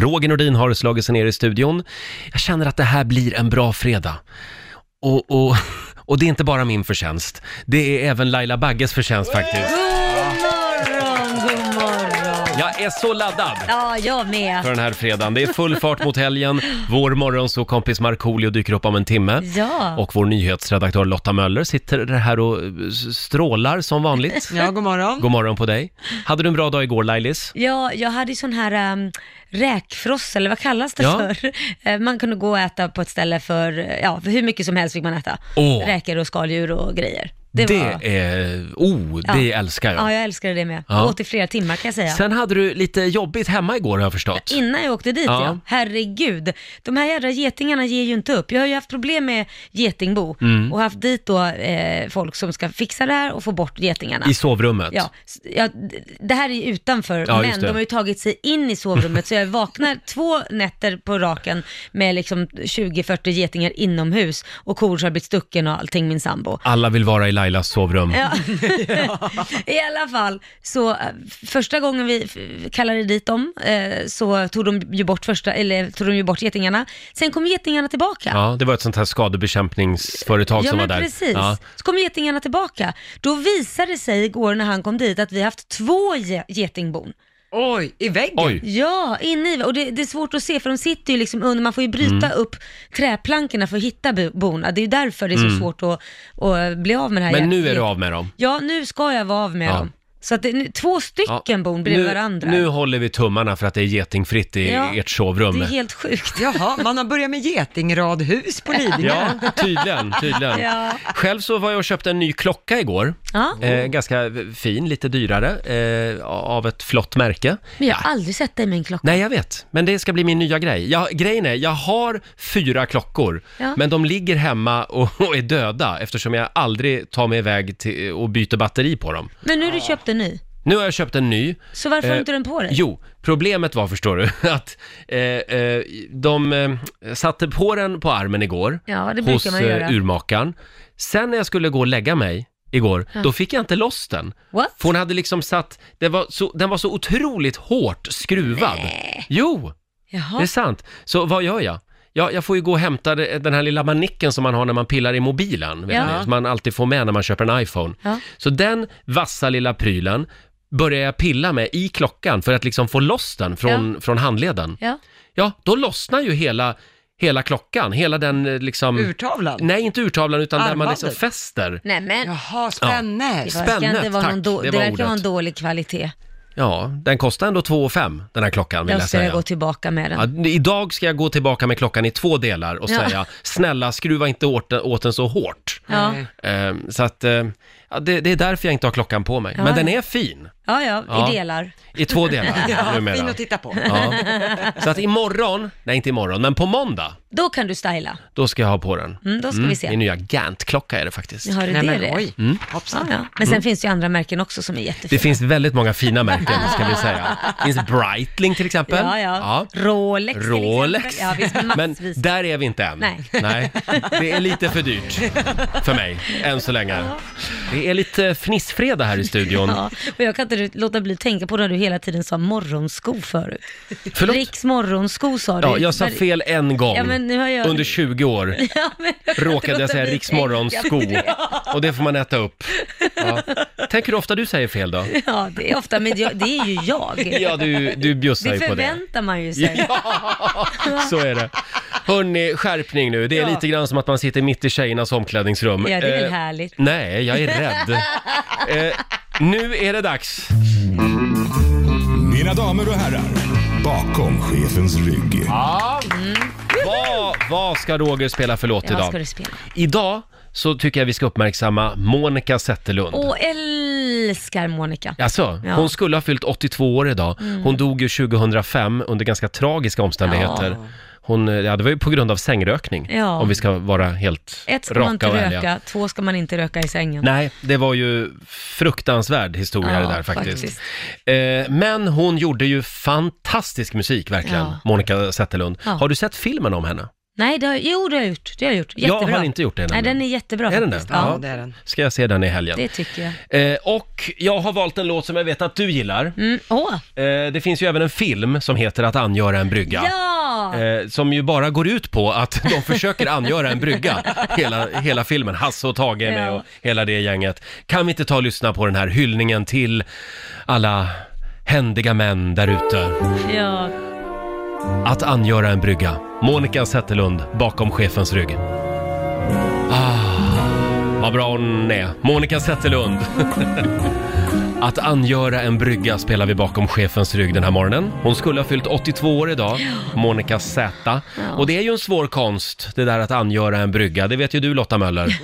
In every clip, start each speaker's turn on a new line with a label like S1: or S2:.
S1: Roger Nordin har slagit sig ner i studion. Jag känner att det här blir en bra fredag. Och, och, och det är inte bara min förtjänst. Det är även Laila Bagges förtjänst faktiskt.
S2: God morgon, god morgon.
S1: Jag är så laddad!
S2: Ja, jag
S1: för
S2: med.
S1: den här fredagen. Det är full fart mot helgen. Vår morgonsåkompis Markoolio dyker upp om en timme.
S2: Ja.
S1: Och vår nyhetsredaktör Lotta Möller sitter här och eh, s- strålar som vanligt.
S3: Ja, god morgon.
S1: God morgon på dig. Hade du en bra dag igår Lailis?
S2: Ja, jag hade ju sån här ehm, räkfrossa, eller vad kallas det
S1: Ja.
S2: för? Eh, Man kunde gå och äta på ett ställe för, eh, ja, för hur mycket som helst fick man äta.
S1: Åh.
S2: Räkor och skaldjur och grejer.
S1: Det,
S2: Det, var...
S1: är... Oh, det
S2: Ja.
S1: älskar jag.
S2: Ja, jag älskade det med.
S1: Ja.
S2: Jag åt i flera timmar kan jag säga.
S1: Sen hade du lite jobbigt hemma igår har jag förstått.
S2: Innan jag åkte dit
S1: Ja.
S2: ja. herregud. De här jädra getingarna ger ju inte upp. Jag har ju haft problem med getingbo
S1: Mm.
S2: och haft dit då eh, folk som ska fixa det här och få bort getingarna.
S1: I sovrummet.
S2: Ja, s- ja, d- det här är ju utanför,
S1: Ja, just
S2: men
S1: det.
S2: de har ju tagit sig in i sovrummet, så jag vaknar två nätter på raken med liksom 20-40 getingar inomhus och kor som har blivit stucken och allting, min sambo.
S1: Alla vill vara i Lailas sovrum.
S2: Ja. I alla fall, så eh, första gången vi f- kallade dit dem eh, så tog de ju bort, första, eller, tog de ju bort getingarna. Sen kom getingarna tillbaka.
S1: Ja, det var ett sånt här skadebekämpningsföretag
S2: Ja,
S1: som var
S2: men
S1: där.
S2: precis.
S1: Ja.
S2: Så kom getingarna tillbaka. Då visade det sig igår när han kom dit att vi haft två ge- getingbon.
S3: Oj, i väggen.
S1: Oj,
S2: Ja, inne i, och det, det är svårt att se för de sitter ju liksom under, man får ju bryta
S1: Mm.
S2: upp träplankorna för att hitta bo- bona. Det är ju därför det är så svårt att, att bli av med det här.
S1: Mm. men nu
S2: jäkla-
S1: är du av med dem.
S2: Ja, nu ska jag vara av med
S1: Ja.
S2: dem. Så att det, nu, två stycken bon bredvid
S1: nu,
S2: varandra.
S1: Nu håller vi tummarna för att det är getingfritt i
S2: Ja,
S1: ert sovrum.
S2: det är helt sjukt.
S3: Jaha, man har börjat med getingradhus på Lidingö.
S1: Ja, tydligen. tydligen.
S2: Ja.
S1: Själv så var jag och köpte en ny klocka igår.
S2: Ja.
S1: Eh, ganska fin, lite dyrare, eh, av ett flott märke.
S2: Men jag har aldrig sett dig med en klocka.
S1: Nej, jag vet. Men det ska bli min nya grej. Jag, grejen är, jag har fyra klockor,
S2: Ja.
S1: men de ligger hemma och, och är döda eftersom jag aldrig tar mig iväg till, och byter batteri på dem.
S2: Men nu har du köpt en ny.
S1: Nu har jag köpt en ny.
S2: Så varför har
S1: Eh,
S2: du inte den på dig?
S1: Jo, problemet var, förstår du, att eh, eh, de eh, satte på den på armen igår
S2: Ja, det brukar
S1: hos eh,
S2: man göra.
S1: urmakaren. Sen när jag skulle gå och lägga mig igår, då fick jag inte loss den.
S2: What?
S1: För hon hade liksom satt, den var så, den var så otroligt hårt skruvad. Jo, det är
S2: Jaha.
S1: sant. Så vad gör jag? Ja, jag får ju gå och hämta det- den här lilla manicken som man har när man pillar i mobilen, vet
S2: Ja.
S1: ni, som man alltid får med när man köper en iPhone.
S2: Ja.
S1: Så den vassa lilla prylen börjar jag pilla med i klockan för att liksom få loss den från, från handleden.
S2: Ja.
S1: Ja, då lossnar ju hela, hela klockan, hela den eh, liksom...
S3: Urtavlan.
S1: Nej, inte urtavlan utan där man liksom
S3: Armbandet.
S1: fäster.
S2: Nej men,
S3: Jaha, spänner.
S2: det verkar
S1: Spännet,
S2: inte vara någon
S1: tack.
S2: då,
S1: Det
S2: det
S1: var
S2: verkar vara en
S1: ordet.
S2: dålig kvalitet.
S1: Ja, den kostar ändå 2 5 den här klockan vill
S2: Jag
S1: jag
S2: ska jag
S1: säga.
S2: gå tillbaka med den.
S1: Ja, idag ska jag gå tillbaka med klockan i två delar och
S2: Ja.
S1: säga snälla skruva inte åt den, åt den så hårt.
S2: Ja.
S3: Nej.
S1: Eh, så att, eh, ja, det, det är därför jag inte har klockan på mig.
S2: Ja,
S1: Men den
S2: ja.
S1: är fin
S2: Ja, ja,
S1: Ja.
S2: i delar.
S1: i två delar
S3: Ja, fin
S1: numera.
S3: att titta på.
S1: Ja. Så att imorgon, nej inte imorgon, men på måndag,
S2: Då kan du styla.
S1: då ska jag ha på den.
S2: Mm, då ska vi se.
S1: Min nya Gant-klocka är det faktiskt. Mm.
S2: Har du
S3: Nej,
S2: det
S3: men
S2: det?
S3: oj.
S2: Ja,
S3: Hoppsan.
S2: ja. Men sen finns det ju andra märken också som är jättefina.
S1: Det finns väldigt många fina märken, ska vi säga. Det finns Breitling till exempel.
S2: Ja, ja. Rolex till exempel.
S1: Rolex.
S2: Ja, visst,
S1: Men
S2: massvis.
S1: där är vi inte än.
S2: Nej.
S1: Det är lite för dyrt för mig, än så länge. Det är lite fnissfredag här i studion.
S2: Ja, men jag kan inte låta bli att tänka på när du hela tiden sa morgonsko förut.
S1: Förlåt?
S2: Riks morgonsko sa du.
S1: Ja, jag sa
S2: Men-
S1: fel en gång.
S2: Ja, men nu har jag-
S1: Under 20 år
S2: Ja, men jag kan inte
S1: råkade
S2: låta bli att
S1: jag säga
S2: tänka
S1: riksmorgonsko.
S2: på det.
S1: Och det får man äta upp. Ja. Tänker du ofta du säger fel då?
S2: Ja, det är ofta, men jag, det är ju jag.
S1: Ja, du, du bjussar
S2: det
S1: ju på det.
S2: förväntar man ju sig.
S1: Ja, så är det. Hörni, skärpning nu. Det är lite grann som att man sitter mitt i tjejernas omklädningsrum.
S2: Ja, det är väl
S1: Eh,
S2: härligt.
S1: Nej, jag är rädd. eh, nu är det dags.
S4: Mina damer och herrar, bakom chefens rygg.
S1: mm. Vad, vad ska Roger spela för låt
S2: Ja, vad ska
S1: idag?
S2: du spela?
S1: Idag så tycker jag vi ska uppmärksamma Monica Zetterlund.
S2: Åh, älskar Monica.
S1: Alltså,
S2: Ja. Mm.
S1: hon skulle ha fyllt 82 år idag. Hon dog ju 2005 under ganska tragiska omständigheter. Hon, eh, ja, det var ju på grund av sängrökning,
S2: Ja.
S1: om vi ska vara helt
S2: Ett ska
S1: raka
S2: man inte
S1: och ärliga.
S2: röka, två ska man inte röka i sängen.
S1: Nej, det var ju fruktansvärd historia
S2: Ja,
S1: det där faktiskt.
S2: faktiskt.
S1: Eh, men hon gjorde ju fantastisk musik verkligen,
S2: Ja.
S1: Monica Zetterlund.
S2: Ja.
S1: Har du sett filmen om henne?
S2: Nej, det har, jo det har jag gjort. Det har jag gjort.
S1: Jag har
S2: Jättebra.
S1: inte gjort det än,
S2: Nej,
S1: nämligen.
S2: den är jättebra
S1: Är den
S2: faktiskt.
S1: det?
S2: Ja,
S1: Ja.
S3: det är den.
S1: Ska jag se den i helgen.
S2: det tycker jag.
S1: Eh, och jag har valt en låt som jag vet att du gillar.
S2: Mm. Åh!
S1: Eh, det finns ju även en film som heter Att angöra en brygga.
S2: Ja!
S1: Eh, som ju bara går ut på att de försöker angöra en brygga hela, hela filmen. Hasse och Tage är med
S2: Ja.
S1: och hela det gänget. Kan vi inte ta och lyssna på den här hyllningen till alla händiga män där ute?
S2: ja.
S1: Att angöra en brygga. Monica Zetterlund bakom chefens rygg. Ah, vad bra hon är. Monica Zetterlund. Att angöra en brygga spelar vi bakom chefens rygg den här morgonen. Hon skulle ha fyllt 82 år idag, Monica Z. Och det är ju en svår konst, det där att angöra en brygga. Det vet ju du Lotta Möller.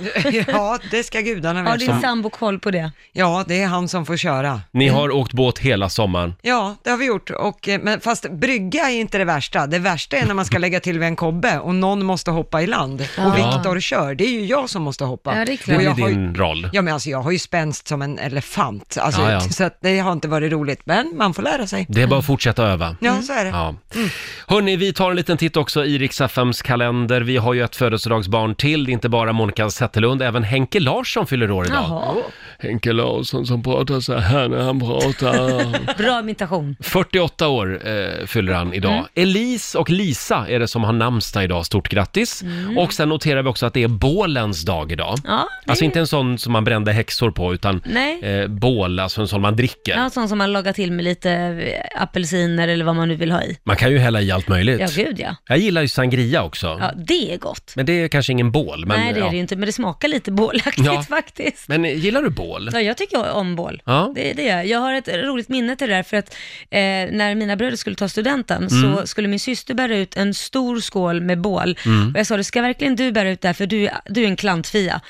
S3: ja, det ska gudarna
S2: Har
S3: veta.
S2: din sambo koll på det?
S3: Ja, det är han som får köra.
S1: Ni har åkt båt hela sommaren.
S3: Ja, det har vi gjort. Och, eh, men fast brygga är inte det värsta. Det värsta är när man ska lägga till vid en kobbe och någon måste hoppa i land.
S2: Ja.
S3: Och Viktor kör. Det är ju jag som måste hoppa.
S2: Ja, det är
S1: Det
S2: klart.
S1: är
S3: Och
S1: ju
S3: jag har ju-
S1: din roll.
S3: Ja, men alltså jag har ju spänst som en elefant. Alltså,
S1: Ja, ja.
S3: Så att det har inte varit roligt, men man får lära sig.
S1: Det är bara att fortsätta öva.
S3: Ja, så är det.
S1: Ja.
S2: Mm.
S1: Hörni, vi tar en liten titt också i Rix FMs kalender. Vi har ju ett födelsedagsbarn till, det är inte bara Monica Zetterlund, även Henke Larsson fyller år idag.
S2: Jaha,
S1: Henke Larsson som pratar så här när han pratar.
S2: bra imitation.
S1: 48 år eh, fyller han idag.
S2: Mm.
S1: Elise och Lisa är det som har namnsdag idag, stort grattis. Och sen noterar vi också att det är bålens dag idag.
S2: Mm. Ja, det
S1: Alltså
S2: är-
S1: inte en sån som man brände häxor på, utan
S2: Nej.
S1: eh, bål, alltså en sån man dricker.
S2: Ja, sån som man lagar till med lite eh, apelsiner eller vad man nu vill ha i.
S1: Man kan ju hälla i allt möjligt.
S2: Ja, gud ja.
S1: Jag gillar ju sangria också.
S2: Ja, det är gott.
S1: Men det är kanske ingen bål. Men,
S2: Nej, det är
S1: ja.
S2: det ju inte, men det smakar lite bålaktigt
S1: Ja.
S2: faktiskt.
S1: men gillar du bål?
S2: Ja, jag tycker om bål.
S1: Ja.
S2: Det, det gör jag. Jag har ett roligt minne till det där, för att eh, när mina bröder skulle ta studenten
S1: Mm.
S2: så skulle min syster bära ut en stor skål med bål.
S1: Mm.
S2: Och jag sa, det ska verkligen du bära ut det här, för du, du är en klantfia.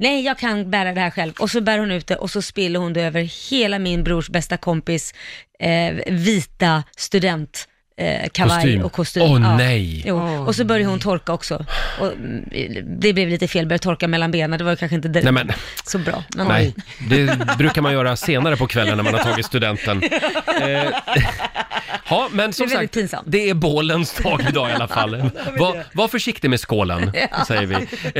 S2: Nej, jag kan bära det här själv. Och så bär hon ut det och så spiller hon det över hela min brors bästa kompis eh, vita student. Eh, kavaj
S1: Kostym.
S2: och kostym.
S1: Åh, nej.
S2: Jo. och så började hon torka också. Och, mm, det blev lite fel, började torka mellan benen. Det var ju kanske inte
S1: Nej, men-
S2: så bra. Men,
S1: Nej, det brukar man göra senare på kvällen när man har tagit studenten. Eh, ja, men som
S2: Det är väldigt
S1: sagt,
S2: pinsamt.
S1: det är bålens dag idag i alla fall. Var, var försiktig med skålen, säger vi.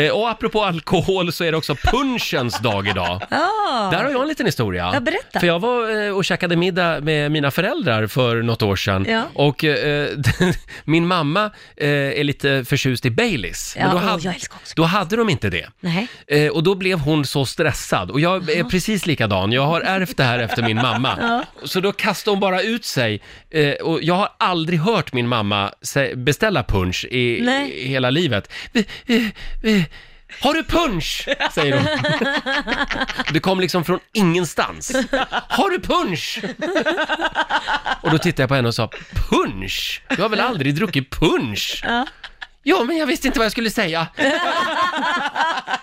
S1: Eh, och apropå alkohol så är det också punschens dag idag.
S2: Ja.
S1: Där har jag en liten historia.
S2: Ja, berätta.
S1: För jag var eh, och käkade middag med mina föräldrar för något år sedan.
S2: Ja.
S1: Och eh, min mamma eh, är lite förtjust i Baileys.
S2: Ja,
S1: då,
S2: åh,
S1: hade-
S2: jag älskar också
S1: då hade de inte det.
S2: Nej.
S1: Eh, och då blev hon så stressad. Och jag är precis likadan. Jag har ärvt det här efter min mamma. Så då kastade hon bara ut sig. Eh, och jag har aldrig hört min mamma sä- beställa punch i,
S2: Nej.
S1: i hela livet. Vi- vi- vi- Har du punch? Säger hon. Det kom liksom från ingenstans. Eh, Har du punch? Och då tittade jag på henne och sa, punch? Jag har väl aldrig druckit punch? Ja. Ja, men jag visste inte vad jag skulle säga.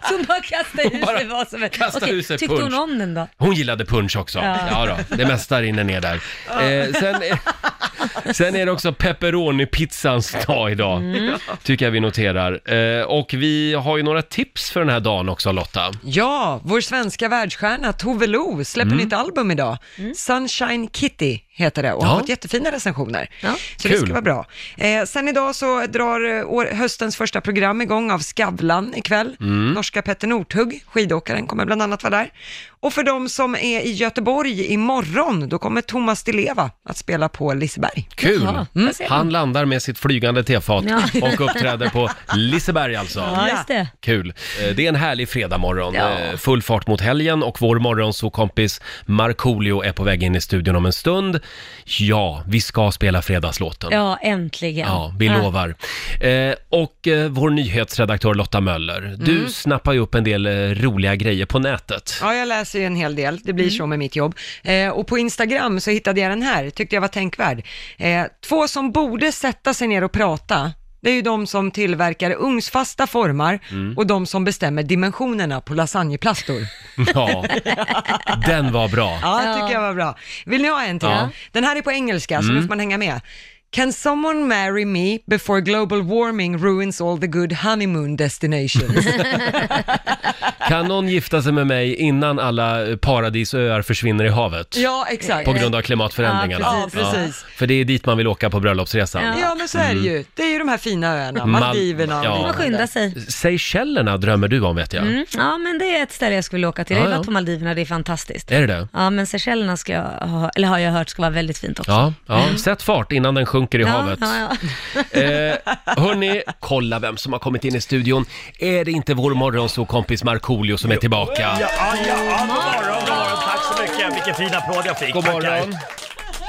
S2: Så hon bara kastar ur
S1: bara
S2: sig vad som helst.
S1: kastar
S2: Okej,
S1: ur sig
S2: tyckte hon
S1: punch.
S2: om den då?
S1: Hon gillade punch också. Ja,
S2: Ja.
S1: då, det mesta rinner ner där. Eh, sen, eh, sen är det också pepperoni-pizzans dag idag, tycker jag vi noterar. Eh, och vi har ju några tips för den här dagen också Lotta.
S3: Ja, vår svenska världsstjärna Tove Lo släpper
S1: Mm.
S3: nytt album idag. Sunshine Kitty heter det och
S1: Ja.
S3: har fått jättefina recensioner.
S2: Ja.
S3: Så det
S1: Kul.
S3: ska vara bra. Eh, sen idag så drar eh, år, höstens första program igång av Skavlan ikväll.
S1: Mm.
S3: Norska Petter Northug, skidåkaren, kommer bland annat vara där. Och för de som är i Göteborg imorgon, då kommer Thomas Di Leva att spela på Liseberg.
S1: Kul!
S2: Jaha, vad säger
S1: Han landar med sitt flygande tefat
S2: Ja.
S1: och uppträder på Liseberg alltså.
S2: Ja, just det.
S1: Kul. Eh, Det är en härlig fredagmorgon.
S2: Ja.
S1: Eh, Full fart mot helgen och vår morgonsokompis Markoolio är på väg in i studion om en stund. Ja, vi ska spela fredagslåten.
S2: Ja, äntligen.
S1: Ja, vi
S3: Ah.
S1: lovar. Eh, och eh, vår nyhetsredaktör Lotta Möller,
S3: Mm.
S1: du snappar ju upp en del eh, roliga grejer på nätet.
S3: Ja, jag läser ju en hel del. Det blir så med mitt jobb. Eh, och på Instagram så hittade jag den här, tyckte jag var tänkvärd. Eh, två som borde sätta sig ner och prata, det är ju de som tillverkar ugnsfasta formar
S1: Mm.
S3: och de som bestämmer dimensionerna på lasagneplastor.
S1: Ja, den var bra.
S3: Ja, det tycker jag var bra. Vill ni ha en till?
S1: Ja. Mm.
S3: Den här är på engelska, så nu får man hänga med. Can someone marry me before global warming ruins all the good honeymoon destinations?
S1: Kan någon gifta sig med mig innan alla eh, paradisöar försvinner i havet?
S3: Ja, exakt.
S1: På grund av klimatförändringarna.
S2: Ja,
S3: precis. Ja, precis.
S1: För det är dit man vill åka på bröllopsresan. Mm.
S2: Ja.
S3: Ja, men så är det ju. Det är ju de här fina öarna,
S1: Mal-
S3: Maldiverna. och
S1: ja.
S2: Man
S3: liknande.
S2: skynda sig.
S1: Seychellerna drömmer du om vet jag.
S2: Mm. Ja, men det är ett ställe jag skulle vilja åka till. Jag har
S1: Ja,
S2: ju
S1: ja.
S2: varit på Maldiverna, det är fantastiskt.
S1: Är det det?
S2: Ja, men Seychellerna ska jag ha, eller har jag hört ska vara väldigt fint också.
S1: Ja, ja. Sätt fart innan den sjunker i
S2: Ja,
S1: havet.
S2: ja, ja.
S1: Eh, hörni, kolla vem som har kommit in i studion. Är det inte vår morgonsåkompis Markoolio som är tillbaka?
S5: Ja, ja, ja, god morgon, god morgon. Tack så mycket. Vilken fin applåd jag fick.
S1: God
S5: Tackar.
S1: morgon.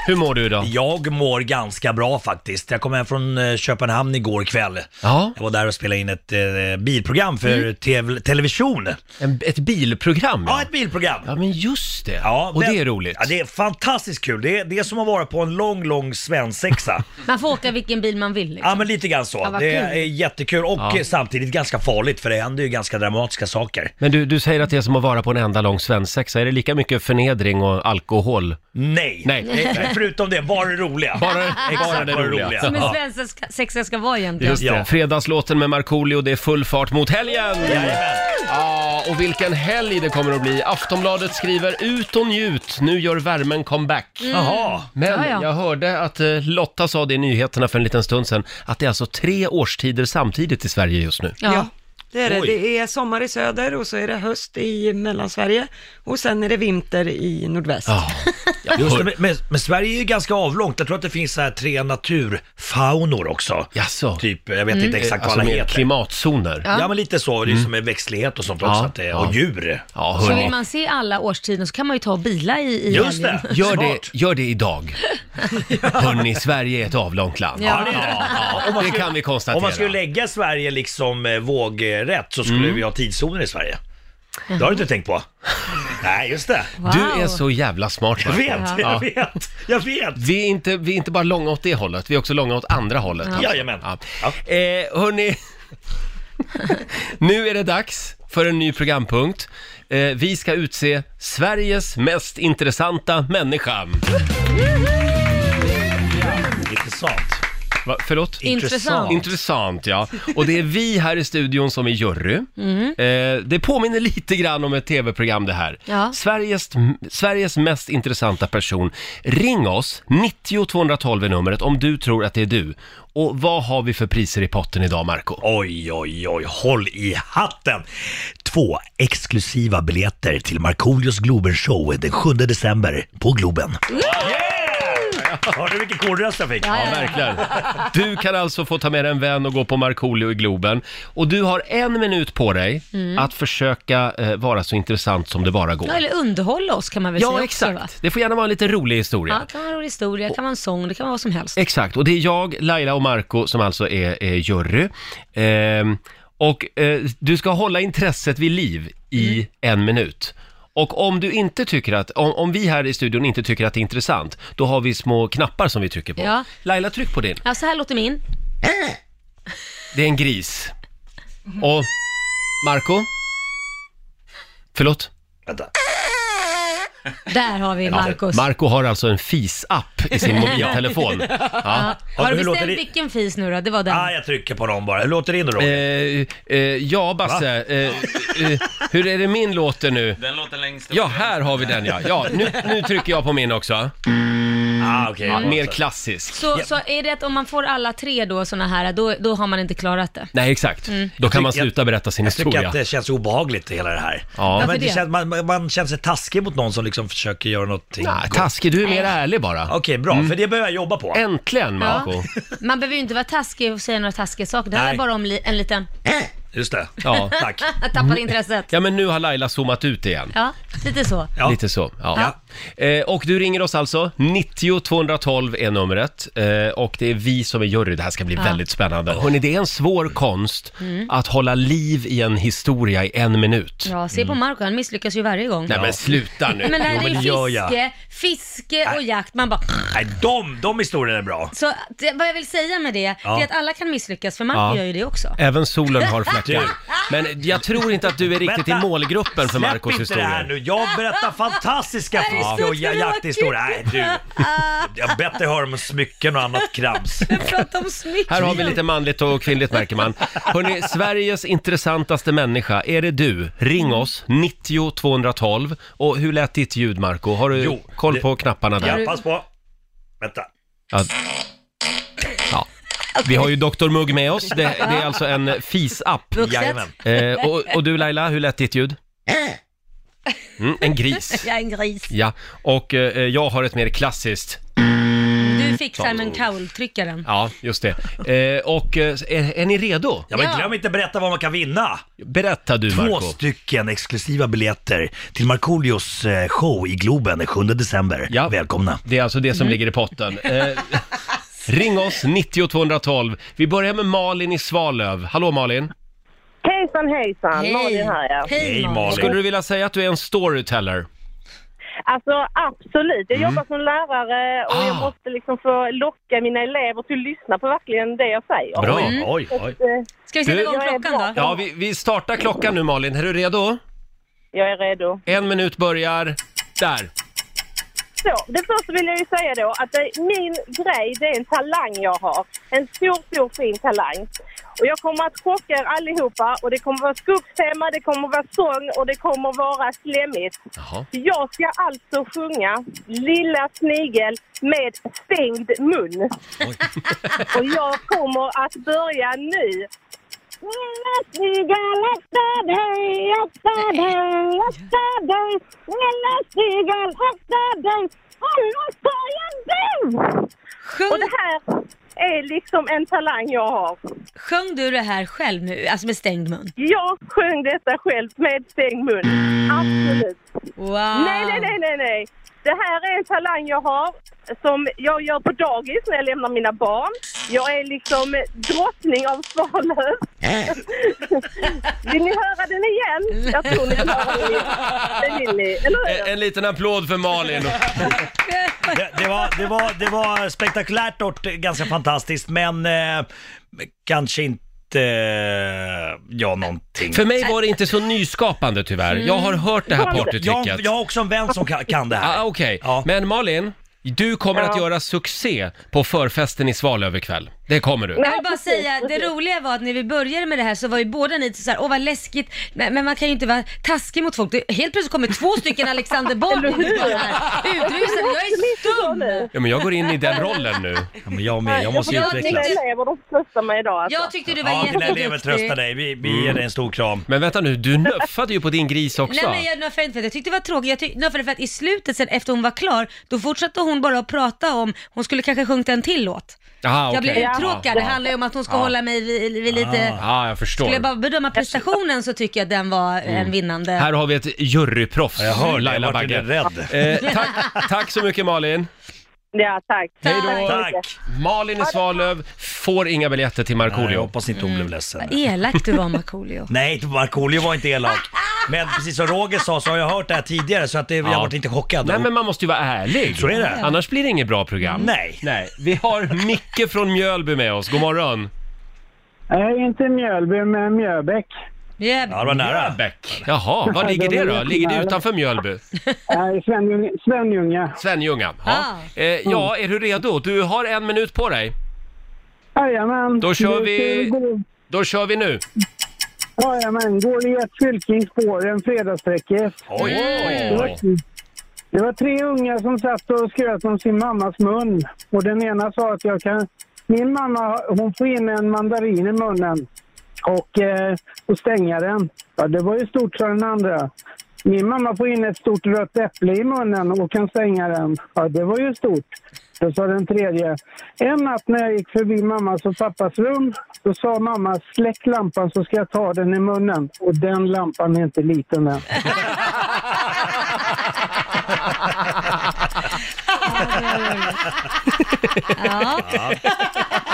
S1: Hur mår du idag?
S5: Jag mår ganska bra faktiskt. Jag kom hem från eh, Köpenhamn igår kväll.
S1: Ja, Mm.
S5: Jag var där och spelade in ett eh, bilprogram för tev- television.
S1: en, ett bilprogram.
S5: Ja,
S1: Ja.
S5: ett bilprogram.
S1: ja, men just det.
S5: Ja,
S1: Och det
S5: den-
S1: är roligt.
S5: Ja, det är fantastiskt kul. Det är, det är som att vara på en lång, lång svensexa.
S2: Man får åka vilken bil man vill. Liksom.
S5: ja, men lite grann så.
S2: vad
S5: det
S2: kul.
S5: är jättekul och
S1: Ja.
S5: eh, samtidigt ganska farligt för det händer ju ganska dramatiska saker.
S1: Men du, du säger att det är som att vara på en enda lång svensexa. Är det lika mycket förnedring och alkohol?
S5: Nej.
S1: Nej.
S5: Eh, Förutom det, var det roliga.
S1: Bara,
S2: Ah.
S1: bara
S5: Exakt,
S1: det
S5: var det
S1: roliga.
S5: roliga.
S2: Som
S5: Ja.
S2: en svensk sexa ska vara egentligen.
S1: Just det.
S5: Ja.
S1: Fredagslåten med Markoolio, det är full fart mot helgen!
S5: Jajamän.
S1: Ja, och vilken helg det kommer att bli. Aftonbladet skriver ut och njut, nu gör värmen comeback.
S5: Mm. Jaha.
S1: Men
S2: Ja, ja.
S1: jag hörde att eh, Lotta sa det i nyheterna för en liten stund sedan, att det är alltså tre årstider samtidigt i Sverige just nu.
S2: Ja.
S3: Ja, det är det.
S1: Oj.
S3: Det är sommar i söder och så är det höst i Mellansverige och sen är det vinter i nordväst.
S1: Ja, jag
S5: Just det,
S1: hör...
S5: men, men, men Sverige är ju ganska avlångt. Jag tror att det finns så här tre naturfaunor också.
S1: Jaså?
S5: Typ, jag vet
S2: Mm.
S5: inte exakt
S1: Alltså
S5: vad alla
S1: med
S5: heter.
S1: klimatzoner.
S5: ja. men lite så. Det är som med växtlighet och sånt
S1: Mm. Ja,
S5: också. Att det,
S1: ja.
S5: Och djur.
S1: Ja,
S2: Så vill
S1: hörni.
S2: man se alla årstider så kan man ju ta och bila i, i
S5: Just
S2: helgen.
S5: det.
S1: Gör det,
S5: Smart.
S1: gör det idag. Hörni, Sverige är ett avlångt land.
S2: Ja.
S5: det är det.
S1: Ja, det kan vi konstatera.
S5: Om man skulle lägga Sverige liksom eh, vågrätt så skulle
S1: Mm.
S5: vi ha tidszoner i Sverige. Det har du inte tänkt på? Nej, just det.
S2: Wow.
S1: Du är så jävla smart
S5: Jag
S1: Marco.
S5: vet,
S1: Ja.
S5: jag vet, jag vet.
S1: Vi är, inte, vi är inte bara långa åt det hållet, vi är också långa åt andra hållet. alltså.
S5: Jajamän.
S1: Ja. Eh, hörni, nu är det dags för en ny programpunkt. Eh, vi ska utse Sveriges mest intressanta människa.
S5: Intressant.
S1: Va, förlåt?
S2: Intressant.
S1: Intressant ja. Och det är vi här i studion som är jury. Eh, det påminner lite grann om ett tv-program det här.
S2: Ja.
S1: Sveriges, Sveriges mest intressanta person. Ring oss, 90 212 är numret, om du tror att det är du. Och vad har vi för priser i potten idag, Marco?
S5: Oj, oj, oj, håll i hatten! Två exklusiva biljetter till Markoolios Globen-show den 7 december på Globen. Yeah! Hörde du vilken korröst jag fick?
S2: Ja,
S1: Ja,
S2: ja, ja.
S1: verkligen. Du kan alltså få ta med dig en vän och gå på Markoolio i Globen. Och du har en minut på dig att försöka eh, vara så intressant som det bara går.
S2: Mm. Ja, eller underhålla oss kan man väl
S1: Ja,
S2: säga också va?
S1: exakt. Det får gärna vara en lite rolig historia.
S2: Ja, det kan vara en rolig historia, det kan vara en sång, det kan vara vad som helst.
S1: Exakt, och det är jag, Laila och Marco som alltså är, är jury. Ehm, och eh, du ska hålla intresset vid liv i
S2: Mm.
S1: en minut. Och om du inte tycker att, om, om vi här i studion inte tycker att det är intressant, då har vi små knappar som vi trycker på.
S2: Ja.
S1: Laila, tryck på din.
S2: Ja, så här låter min.
S1: Det är en gris.
S2: Mm.
S1: Och Marco? Förlåt?
S5: Vänta.
S2: Där har vi Marcus.
S1: Marco har alltså en fis-app i sin mobiltelefon. Ja.
S2: Har du
S5: Hur låter
S2: bestämt
S5: det?
S2: vilken fis nu då? Det var den.
S5: Ah, jag trycker på dem bara. Hur låter det in då?
S1: Eh, eh, ja, Basse. Eh, eh, hur är det min låter nu?
S6: Den låten längst upp.
S1: Ja, här har vi den ja. Ja, nu, nu trycker jag på min också.
S5: Ah, okej.
S1: Mer klassiskt.
S2: Så, så är det att om man får alla tre då såna här, då, då har man inte klarat det.
S1: Nej, exakt. Då kan man
S5: tycker-
S1: sluta berätta sin
S5: Jag tycker
S1: historia.
S5: att det känns obehagligt hela det här.
S1: Ja.
S5: Nej,
S2: Varför
S5: men det
S2: det?
S5: känns, man, man känner sig taskig mot någon som liksom försöker göra någonting.
S1: Nej,
S5: gott.
S1: taskig, du är mer ärlig bara. Mm.
S5: Okej, bra. För det behöver jag jobba på.
S1: Äntligen, Marco.
S2: Man behöver ju inte vara taskig och säga några taskiga saker. Det här
S5: Nej.
S2: är bara om li- en liten...
S5: Just det.
S1: Ja.
S5: Tack.
S2: Jag tappade intresset.
S1: ja, men nu har Laila zoomat ut igen.
S2: Ja, lite så.
S5: Ja.
S1: Lite så. Ja. Eh, och du ringer oss alltså, 90 212 är numret. Eh, och det är vi som är jury, det här ska bli väldigt spännande. Hörrni, det är en svår konst att hålla liv i en historia i en minut.
S2: Mm. Ja, se på Marco, han misslyckas ju varje gång.
S1: Mm. Nej men sluta nu!
S2: Men det här
S5: Jo,
S2: är
S5: men
S2: ju
S5: det gör jag.
S2: fiske, fiske och jakt. Man bara...
S5: Nej, de, de historierna är bra.
S2: Så det, vad jag vill säga med det, det är att alla kan misslyckas, för Marco
S1: Ja.
S2: gör ju det också.
S1: Även solen har fläckar. Men jag tror inte att du är riktigt i
S5: Vänta.
S1: målgruppen för Marcos
S5: Släpp inte det här
S1: historia.
S5: nu, jag berättar fantastiska
S2: Det här är Jakthistorier
S5: Ja,
S2: skulle vara
S5: jakthistoria. Nej,
S2: kul.
S5: du. Jag bättre höra om smycken och annat krams.
S2: Prata om smycken.
S1: Här har vi lite manligt och kvinnligt märker man. Hörrni, Sveriges intressantaste människa, är det du? Ring oss, 90 212. Och hur lät ditt ljud, Marco? Har du
S5: Jo,
S1: koll
S5: det-
S1: på knapparna där?
S5: Ja, pass på. Vänta.
S1: Ja. ja. Vi har ju Dr. Mugg med oss. Det, det är alltså en FIS-app.
S2: Vuxet. Eh.
S5: Jajamän.
S1: Eh, och, och du Laila, hur lät ditt ljud? Mm, en gris.
S2: Jag är en gris.
S1: Ja, och eh, jag har ett mer klassiskt.
S2: Du fick Simon
S1: oh.
S2: Cowell-tryckaren.
S1: Ja, just det. Eh, och eh, är, är ni redo?
S5: Ja, men
S2: Ja.
S5: glöm inte berätta vad man kan vinna.
S1: Berätta du
S5: Två
S1: Marco.
S5: stycken exklusiva biljetter till Markoolios eh, show i Globen den 7 december.
S1: Ja.
S5: Välkomna.
S1: Det är alltså det
S2: Mm.
S1: som ligger i potten. Eh, ring oss, 90 212. Vi börjar med Malin i Svalöv. Hallå Malin!
S6: Hejsan hejsan,
S2: Hej.
S6: Malin här ja.
S2: Hej
S5: Hej,
S2: Malin.
S5: Malin.
S1: Skulle du vilja säga att du är en storyteller?
S6: Alltså absolut, jag jobbar som lärare och jag
S1: Mm. Ah.
S6: måste liksom få locka mina elever till att lyssna på verkligen det jag säger.
S1: Bra.
S5: Oj, oj, oj.
S6: Eh,
S2: Ska vi sätta
S1: Du-
S2: igång
S6: Jag är
S2: klockan
S6: bra.
S2: då?
S1: Ja, vi, vi startar klockan nu Malin. Är du redo?
S6: Jag är redo.
S1: En minut börjar där.
S6: Så, det första vill jag ju säga då att det, min grej det är en talang jag har. En stor, stor fin talang. Och jag kommer att chocka er allihopa och det kommer vara skuggstämma, det kommer vara sång och det kommer vara slemmigt.
S1: Jaha.
S6: Jag ska alltså sjunga Lilla snigel med stängd mun. Och jag kommer att börja nu. Lilla snigel, akta dig, akta dig, akta dig. Lilla snigel, akta dig, annars tar jag dig. Och
S2: Sjung,
S6: det här är liksom en talang jag har.
S2: sjöng du det här själv nu, alltså med stängd mun?
S6: Jag sjöng detta själv med stängd mun. Absolut.
S2: Wow.
S6: Nej, nej, nej, nej, nej. Det här är en talang jag har som jag gör på dagis när jag lämnar mina barn. Jag är liksom drottning av Svalöv. Vill ni höra den igen? Jag tror ni vill höra den igen. Det vill ni, eller hur?
S1: En, en liten applåd för Malin.
S5: Det, det, var, det, var, det var spektakulärt och ganska fantastiskt, men eh, kanske inte... eh, Ja, någonting.
S1: För mig var det inte så nyskapande tyvärr.
S2: Mm.
S1: Jag har hört det här
S5: Mm. jag,
S1: partytricket.
S5: jag har också en vän som kan, kan det här.
S1: Ah, Okej,
S5: Ja.
S1: men Malin, du kommer att göra succé på förfesten i Svalöv ikväll. Det kommer du.
S2: Jag vill bara säga, det roliga var att när vi började med det här så var ju båda ni så här, åh vad läskigt, men, men man kan ju inte vara taskig mot folk. Det, helt plötsligt kommer två stycken Alexander Bard in i den här utrusade, jag är stum!
S1: Ja, men jag går in i den rollen nu.
S5: Ja, men jag med, jag måste ju
S2: jag
S5: utvecklas.
S6: Mina
S2: tänkte-
S6: elever, de tröstar mig idag alltså.
S2: Jag tyckte du var
S5: Ja, dina
S2: jätteduktig.
S5: elever tröstar dig. Vi, vi ger dig en stor kram.
S1: Men vänta nu, du nöffade ju på din gris också.
S2: Nej men jag nuffade inte för att jag tyckte det var tråkigt. Jag tyck- nuffade för att i slutet sen efter hon var klar, då fortsatte hon bara att prata om, hon skulle kanske sjungit en till låt.
S1: Aha,
S2: Jag
S1: Ah, okej.
S2: blev uttråkad, det handlar ju om att hon ska hålla mig vid, vid lite...
S1: Ja, ah, jag förstår. Mm.
S2: Skulle jag bara bedöma prestationen så tycker jag att den var en vinnande.
S1: Här har vi ett juryproffs,
S5: Jag hörde det,
S1: Laila
S5: jag vart
S1: Bagge.
S5: lite rädd.
S1: Eh, tack, tack så mycket Malin.
S6: Ja, tack.
S2: Hej då.
S6: så mycket.
S5: Tack!
S1: Malin i Svalöv får inga biljetter till
S5: Nej, jag
S1: Markoolio.
S5: hoppas inte hon
S2: Mm.
S5: blev ledsen.
S2: Elak du var Markoolio.
S5: Nej, Markoolio var inte elak. Men precis som Roger sa så har jag hört det här tidigare så att det, jag
S1: Ja.
S5: varit inte chockad.
S1: Nej men man måste ju vara ärlig.
S5: Så är det.
S1: Annars blir det inget bra program.
S5: Nej.
S1: Nej. Vi har Micke från Mjölby med oss. God morgon.
S7: Nej, inte Mjölby, men Mjöbäck.
S2: Jävligt.
S5: Ja, det var nära.
S1: Bäck. Jaha, var ligger det då? Ligger det utanför Mjölby?
S7: Nej, Svenljunga. Svenljunga.
S1: Svenljunga. Ja.
S2: Ah.
S1: Eh, ja, är du redo? Du har en minut på dig.
S7: Jajamän.
S1: Då kör
S7: Det-
S1: vi-
S7: det-
S1: Då kör vi nu.
S7: Jajamän. Går i ett fylke i spåren, fredagssträcket.
S5: Oj,
S7: Det
S5: oj,
S7: var,
S5: oj.
S7: det var tre unga som satt och skröt om sin mammas mun. Och den ena sa att jag kan... Min mamma, hon får in en mandarin i munnen och, eh, och stänga den. Ja, det var ju stort, sa den andra. Min mamma får in ett stort rött äpple i munnen och kan stänga den. Ja, det var ju stort. Då sa den tredje. En natt när jag gick förbi mammas och pappas rum, då sa mamma släck lampan så ska jag ta den i munnen. Och den lampan är inte liten än.
S2: Ja.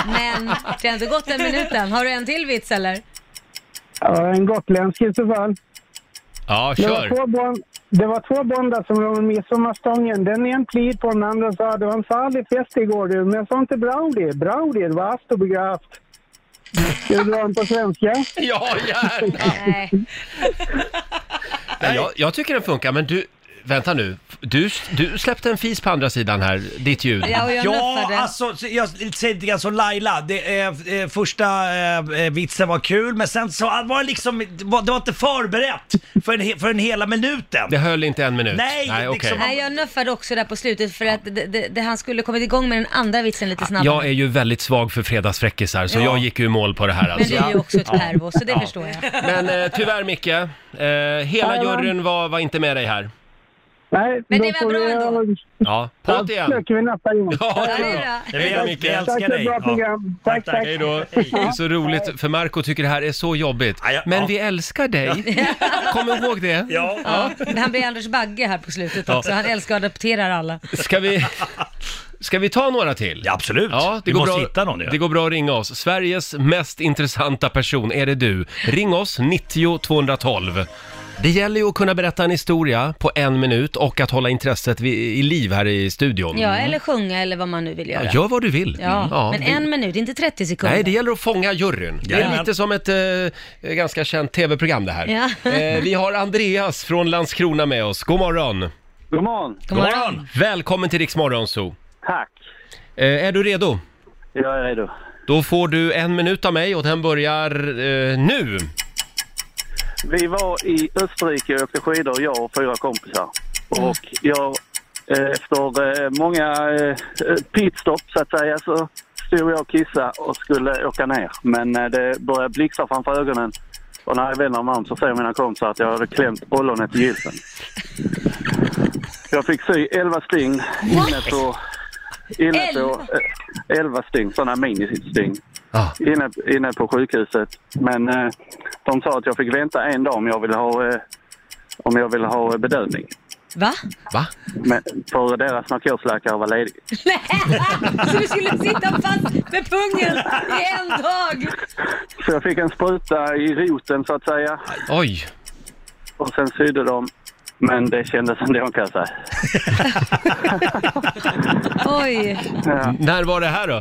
S2: Men det har inte gått en minut än. Har du en till vits eller?
S7: Ja, en gotländsk i så fall.
S1: Ja,
S7: Det var,
S1: kör.
S7: två bond, det var två bondar som var med midsommarstången. Den är en plid på den andra sa det var en farlig fest igår du. Men jag sa inte bra det. Bra det, det var ast och begravt. Ska du dra den på svenska?
S1: Ja, gärna.
S2: Nej.
S1: Nej, jag, jag tycker den funkar, men du, vänta nu. Du, du släppte en fis på andra sidan här, ditt ljud.
S2: Ja, och jag
S5: Ja,
S2: nappade.
S5: alltså så- jag säger lite grann som Laila. Det, eh, eh, första eh, eh, vitsen var kul, men sen så var det liksom, det var, det var inte förberett för en, he- för en hela minuten.
S1: Det höll inte en minut.
S5: Nej, liksom-
S1: okej.
S2: Nej, jag nuffade också där på slutet för att det, det, det, han skulle kommit igång med den andra vitsen lite snabbare.
S1: Jag är ju väldigt svag för fredagsfräckisar, så
S5: Ja.
S1: jag gick ju i mål på det här
S2: Men
S1: alltså.
S2: du är ju också ett pervo, så det förstår jag.
S1: Men eh, tyvärr Micke, eh, hela juryn var, var inte med dig här.
S7: Nej,
S2: Men
S7: då
S2: det var
S7: får
S2: bra
S7: vi-
S2: ändå.
S1: Ja, på
S7: Då
S1: igen!
S7: försöker vi nappa in.
S1: Ja,
S2: Ja, det är
S1: ja.
S2: bra.
S5: Det vet
S1: Tack,
S5: jag, vi
S7: Tack
S5: älskar
S7: för ett
S5: dig.
S7: bra
S5: Ja.
S7: program. Tack, tack.
S1: Hej då. Det är så roligt, för Marco tycker det här är så jobbigt.
S5: Ja, ja,
S1: Men
S5: ja.
S1: vi älskar dig. Kom ihåg det.
S5: Ja.
S2: Men Han blir Anders Bagge här på slutet också. Han älskar att adopterar alla.
S1: Ska vi, ska vi ta några till?
S5: Ja, absolut.
S1: Ja, det
S5: vi
S1: går
S5: måste
S1: bra,
S5: hitta någon ju.
S1: Det går bra att ringa oss. Sveriges mest intressanta person, är det du? Ring oss, 90 212. Det gäller ju att kunna berätta en historia på en minut och att hålla intresset vid, i liv här i studion.
S2: Ja, eller sjunga eller vad man nu vill göra.
S1: Mm. Ja, Gör vad du vill.
S2: Ja, men
S1: det-
S2: en minut, inte 30 sekunder.
S1: Nej, det gäller att fånga juryn. Det är
S5: Jajamän.
S1: lite som ett eh, ganska känt tv-program det här.
S2: Ja.
S1: Eh, vi har Andreas från Landskrona med oss. God morgon!
S8: God morgon.
S2: God morgon.
S1: Välkommen till Rix Morgonzoo.
S8: Tack.
S1: Eh, är du redo?
S8: Jag är redo.
S1: Då får du en minut av mig och den börjar eh, nu.
S8: Vi var i Österrike och åkte skidor, jag och fyra kompisar. Och jag, eh, efter eh, många eh, pitstop så att säga, så stod jag och kissade och skulle åka ner. Men eh, det började blixtra framför ögonen. Och när jag vänder mig om så ser mina kompisar att jag hade klämt ollonet i gylfen. Jag fick sy 11 sting inne på... Inne på eh, 11 sting, sådana mini-sting.
S1: Ah.
S8: inne, inne på sjukhuset. Men eh, de sa att jag fick vänta en dag om jag ville ha, eh, om jag ville ha eh, bedövning.
S2: Va?
S1: Va?
S8: Men, för deras narkosläkare var ledig.
S2: Nej, så du skulle sitta fast med pungen i en dag?
S8: Så jag fick en spruta i roten så att säga.
S1: Oj!
S8: Och sen sydde de. Men det kändes ändå kan jag säga.
S2: Oj.
S1: När var det här då?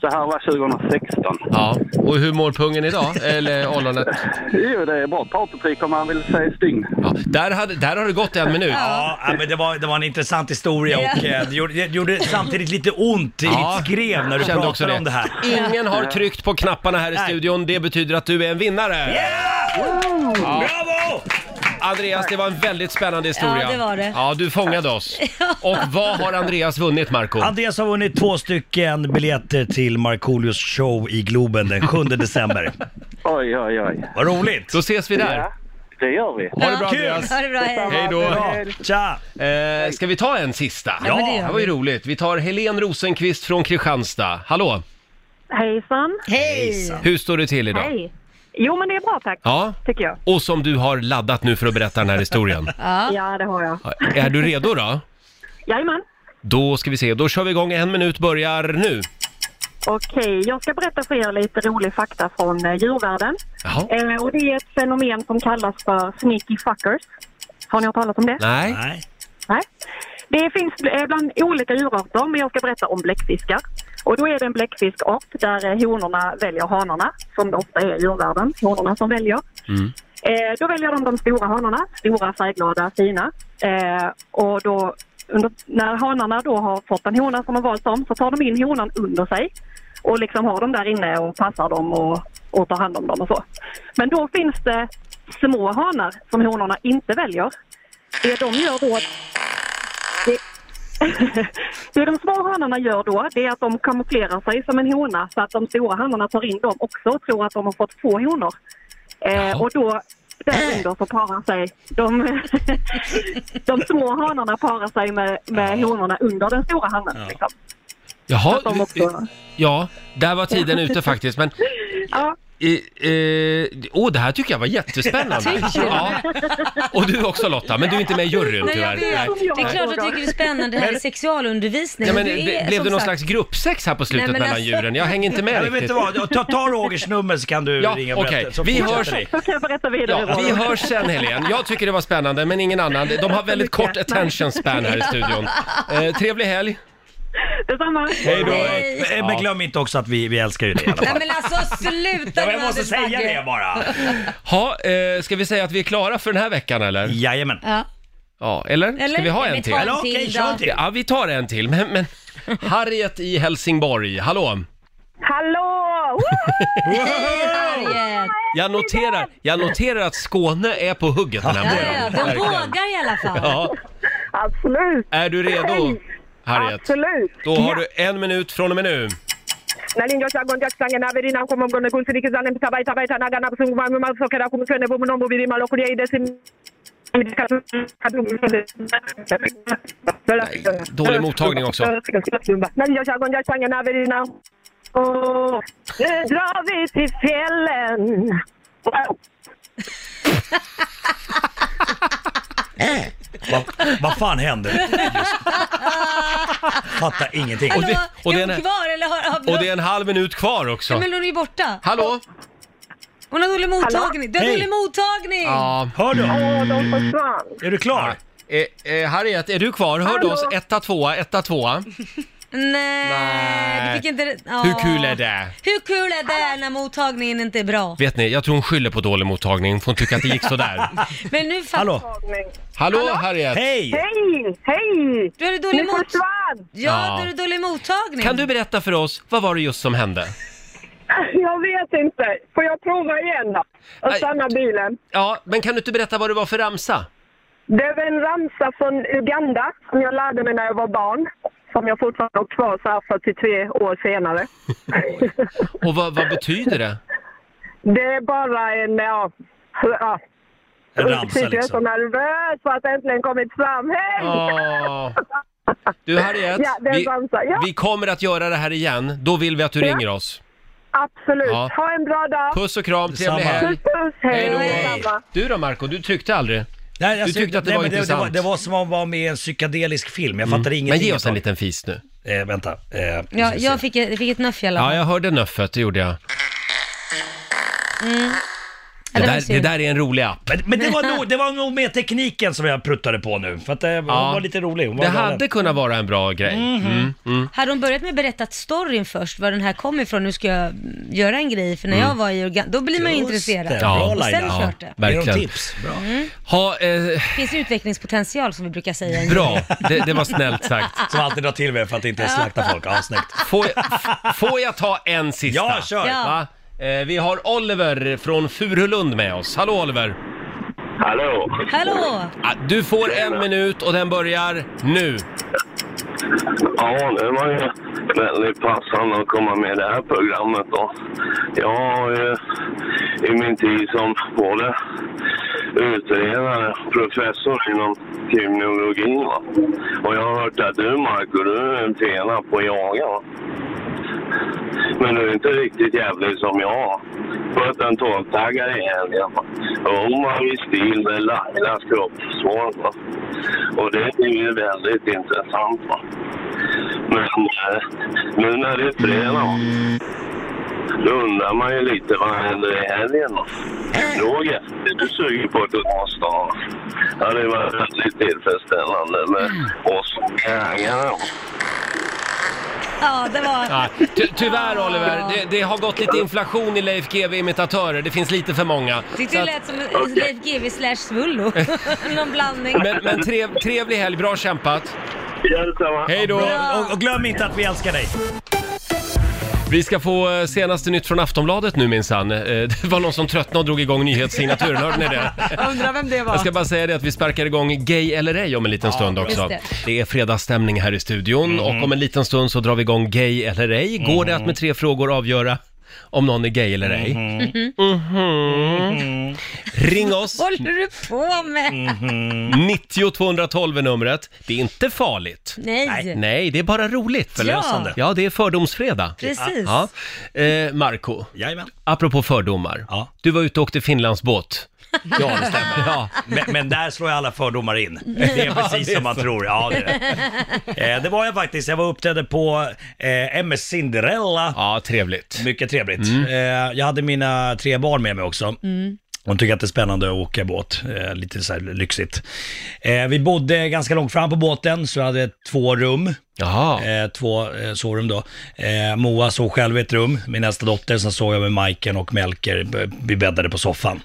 S8: Så här var 2016.
S1: Ja. Och hur mår pungen idag? Eller ollonet?
S8: Jo, det är bra partytrick om man vill säga stygn.
S1: Ja. Där, hade, där har det gått en minut.
S5: Ja, ja, men det var, det var en intressant historia och eh, det gjorde, det gjorde samtidigt lite ont i
S1: Ja,
S5: ditt skrev när du
S1: kände också
S5: pratade
S1: det.
S5: om det här.
S1: Ingen har tryckt på knapparna här i
S5: Nej.
S1: studion. Det betyder att du är en vinnare.
S5: Bravo!
S1: Andreas, det var en väldigt spännande historia.
S2: Ja, det var det.
S1: Ja, du fångade oss. Och vad har Andreas vunnit, Marco?
S5: Andreas har vunnit två stycken biljetter till Markoolios show i Globen den 7 december.
S8: Oj, oj, oj.
S5: Vad roligt!
S1: Då ses vi där.
S8: Ja, det gör vi.
S1: Ha det bra,
S2: Ja.
S1: Andreas.
S2: Ha det bra, hej.
S1: Hej då.
S5: Bra. Tja!
S1: Eh, ska vi ta en sista?
S2: Ja, men det
S1: Det
S2: gör
S1: här var ju
S2: vi.
S1: roligt. Vi tar Helen Rosenqvist från Kristianstad. Hallå!
S9: Hejsan.
S2: Hej.
S1: Hur står det till idag?
S9: Hej. Jo, men det är bra tack,
S1: Ja,
S9: tycker jag.
S1: och som du har laddat nu för att berätta den här historien.
S2: Ja.
S9: Ja, det har jag.
S1: Är du redo då?
S9: Jajamän.
S1: Då ska vi se, då kör vi igång. En minut börjar nu.
S9: Okej, jag ska berätta för er lite rolig fakta från eh, djurvärlden.
S1: Jaha.
S9: Eh, och det är ett fenomen som kallas för sneaky fuckers. Har ni hört talas om det?
S1: Nej.
S5: Nej.
S9: Nej. Det finns eh, bland olika djurarter, men jag ska berätta om bläckfiskar. Och då är det en bläckfiskart där eh, honorna väljer hanarna, som det ofta är i djurvärlden, honorna som väljer.
S1: Mm.
S9: Eh, då väljer de de stora hanorna, stora, färgglada, fina. Eh, och då, under, när hanarna då har fått en hona som de valt om så tar de in honan under sig och liksom har dem där inne och passar dem och, och tar hand om dem och så. Men då finns det små hanar som honorna inte väljer. Det de gör då... Det, det de små hanarna gör då, det är att de kamouflerar sig som en hona så att de stora hanarna tar in dem också och tror att de har fått två honor.
S1: Jaha.
S9: Eh, och då därunder så parar sig de, de små hanarna parar sig med, med honorna under den stora hanen. Liksom.
S1: Jaha.
S9: De också,
S1: Ja, där var tiden ute faktiskt. Men
S9: ja.
S1: Eh, eh, åh, det här tycker jag var jättespännande. ja. Och du också Lotta, men du är inte med i juryn
S2: Nej, jag
S1: tyvärr.
S2: vet. Det är klart att jag tycker det är spännande. Det här är sexualundervisning.
S1: Ja, men,
S2: Du
S1: det,
S2: är,
S1: blev
S2: som
S1: det någon
S2: sagt-
S1: slags gruppsex här på slutet
S2: Nej, men
S1: mellan
S2: alltså-
S1: djuren? Jag hänger inte med
S5: Ja, men vet
S1: riktigt.
S5: du vad? Ta, ta Rogers nummer så kan du
S1: Ja,
S5: ringa och
S1: okej.
S5: berätta. så
S1: Vi
S5: fortsätter
S1: hörs.
S5: vi.
S9: Då kan jag berätta vidare.
S1: Ja, vi
S9: Roland.
S1: hörs sen Helene. Jag tycker det var spännande, men ingen annan. De har väldigt kort attention span här i studion. Eh, trevlig helg.
S9: Detsamma.
S1: Hej då.
S2: Hej.
S5: Eh, Men glöm inte också att vi, vi älskar ju dig i alla
S2: Nej
S5: fall.
S2: men alltså sluta
S5: Ja,
S2: nu
S5: men jag måste
S2: Anders
S5: säga
S2: Bagge.
S5: det bara.
S1: Ha, eh, ska vi säga att vi är klara för den här veckan eller?
S5: Jajamän.
S2: Ja.
S1: Ja, eller? Ska
S2: Eller?
S1: vi ha
S2: Ja,
S1: en
S2: vi
S1: till?
S2: tar
S5: Eller
S2: till
S5: okej,
S2: då.
S5: kör en till.
S1: Ja, vi tar en till. Men, men... Harriet i Helsingborg, hallå!
S6: Hallå! Woho!
S2: Harriet.
S1: Jag noterar, jag noterar att Skåne är på hugget den här
S2: Ja, ja, ja.
S1: morgonen.
S2: De
S1: Verkligen.
S2: vågar i alla fall.
S1: Ja,
S6: Absolut!
S1: är du redo Harriet?
S6: Absolut!
S1: Då har du en minut från och med nu.
S6: Nalindwa chagonja kisangana verina nkomo mgono kunsinikizana mutabaita baita nagana kusungu mami masokera kumutwene bomuno mubiri malokulya idesi
S1: dålig mottagning också.
S6: Nalindwa chagonja kisangana verina Åh, nu drar vi till fjällen
S5: Vad vad fan hände? Fattar ingenting.
S1: Och det-
S2: Hallå,
S1: och
S2: är
S1: det är en-
S2: hon kvar eller har
S1: Och det är en halv minut kvar också.
S2: Men hon är ju borta.
S1: Hallå?
S2: Hon har dålig mottagning. Du har
S5: Hej.
S2: dålig mottagning!
S1: Ja.
S5: Hör du?
S6: Åh, de försvann.
S5: Är du klar?
S1: Eh, eh, Harriet, är du kvar? Hör du oss? Etta, tvåa, etta, tvåa.
S2: Nej,
S1: Nej.
S2: du fick inte... Ja.
S1: Hur kul är det?
S2: Hur kul är det när mottagningen inte är bra?
S1: Vet ni, jag tror hon skyller på dålig mottagning. Hon får tycka att det gick sådär.
S2: Men nu fattar
S5: Hallå?
S1: Hallå, Harriet?
S5: Hej!
S6: Hej, hej!
S2: du. Har du dålig
S6: Ni
S2: mot...
S6: försvann!
S1: Ja.
S2: Ja, du har du dålig mottagning.
S1: Kan du berätta för oss, vad var det just som hände?
S6: Jag vet inte. Får jag prova igen då? Och
S1: Nej.
S6: stanna bilen.
S1: Ja, men kan du inte berätta vad det var för ramsa?
S6: Det var en ramsa från Uganda som jag lärde mig när jag var barn. Som jag fortfarande har kvar så här 43 år senare.
S1: Och vad, vad betyder det?
S6: Det är bara en, ja... ja.
S5: En
S6: Typ
S5: ramsa
S6: Jag är så
S5: liksom.
S6: nervös för att äntligen kommit fram. Hej!
S1: Åh. Du Harriet,
S6: Ja, det är en ramsa. Ja.
S1: vi kommer att göra det här igen. Då vill vi att du ringer oss.
S6: Absolut.
S1: Ja.
S6: Ha en bra dag.
S1: Puss och kram, trevlig
S5: Detsamma.
S1: helg.
S6: Puss, puss. Hej.
S1: Hej då.
S6: Detsamma.
S1: Du då Marco, du tyckte aldrig?
S5: Nej,
S1: Du tyckte att det var
S5: men Det,
S1: intressant. Mm.
S5: var, det var som att vara med i en psykedelisk film. Jag fattade
S1: Men
S5: ingenting.
S1: ge
S5: ett
S1: oss en
S5: tag.
S1: liten fis nu.
S5: Eh, vänta. Eh,
S2: Ja,
S5: ska vi se.
S2: jag fick, jag fick ett nöff i alla
S1: Ja,
S2: fall.
S1: jag hörde nöffet, det gjorde jag.
S2: Mm. Ja,
S1: Det
S2: det var
S1: där,
S2: synd.
S1: det där är en rolig app.
S5: Men, men det, var nog, det var nog med tekniken som jag pruttade på nu. För att det, hon
S1: Ja.
S5: var lite rolig. Hon var
S1: Det
S5: galen. Mhm.
S1: hade kunnat vara en bra grej. Mm.
S2: Hade de börjat med att berätta storyn först, var den här kom ifrån, nu ska jag mm, göra en grej, för när
S1: Mm.
S2: jag var i Uganda, då blir man ju
S5: Just
S2: intresserad.
S5: det.
S2: Det.
S5: Bra
S1: Ja,
S5: Laila.
S2: sen
S1: ja,
S2: kört det.
S5: Ge dem
S1: verkligen.
S5: tips. Bra.
S1: Ha, eh,
S2: finns utvecklingspotential som vi brukar säga.
S1: bra, det, det var snällt sagt.
S5: Som alltid drar till mig för att inte slakta folk. Ja, snyggt.
S1: Får jag, f- får jag ta en sista?
S5: Ja, kör!
S2: Ja.
S1: Va? Eh, vi har Oliver från Furulund med oss. Hallå Oliver!
S10: Hallå!
S2: Hallå!
S1: Ah, Du får en minut och den börjar nu.
S10: Ja, det var ju väldigt passande att komma med i det här programmet. Då. Jag har ju i min tid som både utredare och professor inom kriminologi. Va? Och jag har hört att du, Marco, du är en fena på att jaga. Va? Men du är inte riktigt jävlig som jag. Sköt en tolvtaggare i helgen. va. Och Hon var i stil med Lailas kroppsförsvar. va. Och det är ju väldigt intressant. Va? Men eh, nu när det är fredag, då undrar man ju lite vad händer i helgen då? Roger, är du sugen på ett glas då? Det hade varit väldigt tillfredsställande med oss jägare.
S2: Ja, det var...
S1: Ah, ty tyvärr Oliver, det, det har gått lite inflation i Leif GW imitatörer. Det finns lite för många.
S2: Tyckte
S1: Så
S2: det
S1: att-
S2: lät som Leif GW slash Svullo. Någon blandning.
S1: men men trev, trevlig helg, bra kämpat.
S10: Ja, detsamma.
S1: Hej då!
S5: Och, och, och glöm inte att vi älskar dig.
S1: Vi ska få eh, senaste nytt från Aftonbladet nu minsann. Eh, Det var någon som tröttnade och drog igång nyhetssignaturen, hörde ni det?
S3: Jag undrar vem det var.
S1: Jag ska bara säga det att vi sparkar igång Gay eller ej om en liten stund också. Det.
S2: Just Mm,
S1: är fredagsstämning här i studion och om en liten stund så drar vi igång Gay eller ej. Går det att med tre frågor avgöra om någon är gay eller ej?
S2: Mm-hmm.
S1: Mhm. Ring oss! Mhm.
S2: Vad håller du på med? Mm.
S1: 90 212 är numret. Det är inte farligt.
S2: Nej.
S1: Nej, det är bara roligt.
S2: Förlösande.
S1: Ja, det är fördomsfredag.
S2: Precis.
S1: Ja. Eh, Marco,
S5: Jajamän.
S1: apropå fördomar.
S5: Ja.
S1: Du var ute och åkte Finlandsbåt. Ja, det stämmer. Ja.
S5: Men, men där slår jag alla fördomar in. Det är precis som man tror. Ja, det, är det. Eh, det var jag faktiskt. Jag var och uppträdde på eh, MS Cinderella.
S1: ja, trevligt. Mm.
S5: Mycket trevligt. Eh, jag hade mina tre barn med mig också.
S2: Mm.
S5: Hon tycker att det är spännande att åka båt, eh, lite så här lyxigt. Eh, vi bodde ganska långt fram på båten, så jag hade två rum.
S1: Jaha.
S5: Eh, två eh, sovrum då. Eh, Moa sov själv i ett rum, min nästa dotter. Sen sov jag med Majken och Melker. B- Vi bäddade på soffan.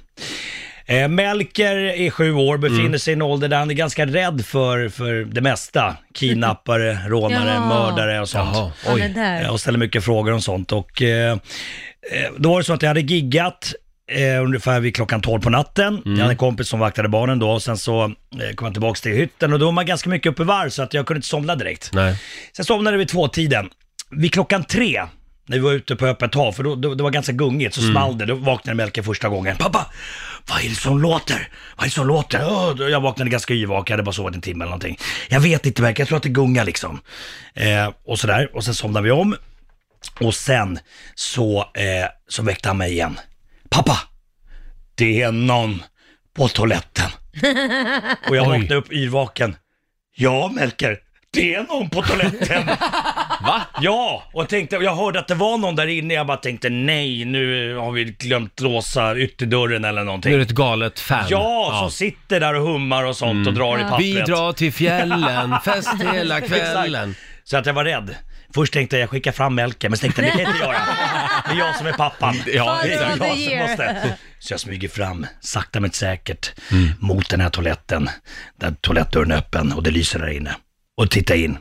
S5: Eh, Melker är sju år, befinner
S1: Mm.
S5: sig i en ålder där han är ganska rädd för, för det mesta. Kidnappare, rånare,
S2: Ja.
S5: mördare och sånt.
S1: Jaha,
S2: Han är där.
S5: Eh, och ställer mycket frågor om sånt. Och, eh, eh, då var det så att jag hade giggat eh, ungefär vid klockan 12 på natten. Jag hade en kompis som vaktade barnen då och sen så eh, kom jag tillbaka till hytten och då var man ganska mycket uppe i varv så att jag kunde inte somna direkt.
S1: Nej.
S5: Sen somnade vi vid tvåtiden. Vid klockan tre, när vi var ute på öppet hav, för då, då, det var ganska gungigt, så small det. Då vaknade Melker första gången. Pappa! Vad är det som låter? Vad är det som låter? Åh, då- jag vaknade ganska yrvaken, jag hade bara sovit en timme eller någonting. Jag vet inte Melker, jag tror att det gungar liksom. Eh, och sådär, och sen somnade vi om. Och sen så, eh, så väckte han mig igen. Pappa! Det är någon på toaletten. och jag
S1: Oj.
S5: vaknade upp yrvaken. Ja, Melker, det är någon på toaletten.
S1: Va?
S5: Ja, och tänkte, jag hörde att det var någon där inne. Jag bara tänkte nej, nu har vi glömt låsa ytterdörren eller
S1: Nu är
S5: någonting.
S1: du ett galet fan. Mm.
S5: Ja, som sitter där och hummar och sånt och drar i
S2: Ja.
S5: pappret.
S1: Vi drar till fjällen, fest hela kvällen.
S5: Så att jag var rädd. Först tänkte jag, jag skickar fram Melker, men så tänkte jag, det kan jag inte göra. Det är jag som är pappan.
S1: Ja,
S5: Det
S2: exakt.
S5: är jag som
S2: Year.
S5: måste. Så jag smyger fram, sakta men säkert,
S1: Mm.
S5: mot den här toaletten. Där toalettdörren är öppen och det lyser där inne. Och tittar in.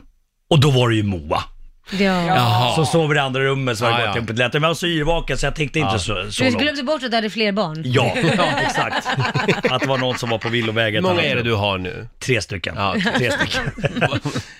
S5: Och då var det ju Moa.
S2: Ja.
S1: Jaha.
S5: Som sover i andra rummet så har
S1: Ja,
S5: jag
S1: ja.
S5: gått in på toaletten. Men jag var så yrvaken så jag tänkte inte så, så
S2: Du
S5: långt.
S2: glömde bort att du hade fler barn.
S5: Ja, exakt. Att det var någon som var på villovägen.
S1: Hur många är det du har nu?
S5: Tre stycken.
S1: Ja, okej.
S5: Tre stycken.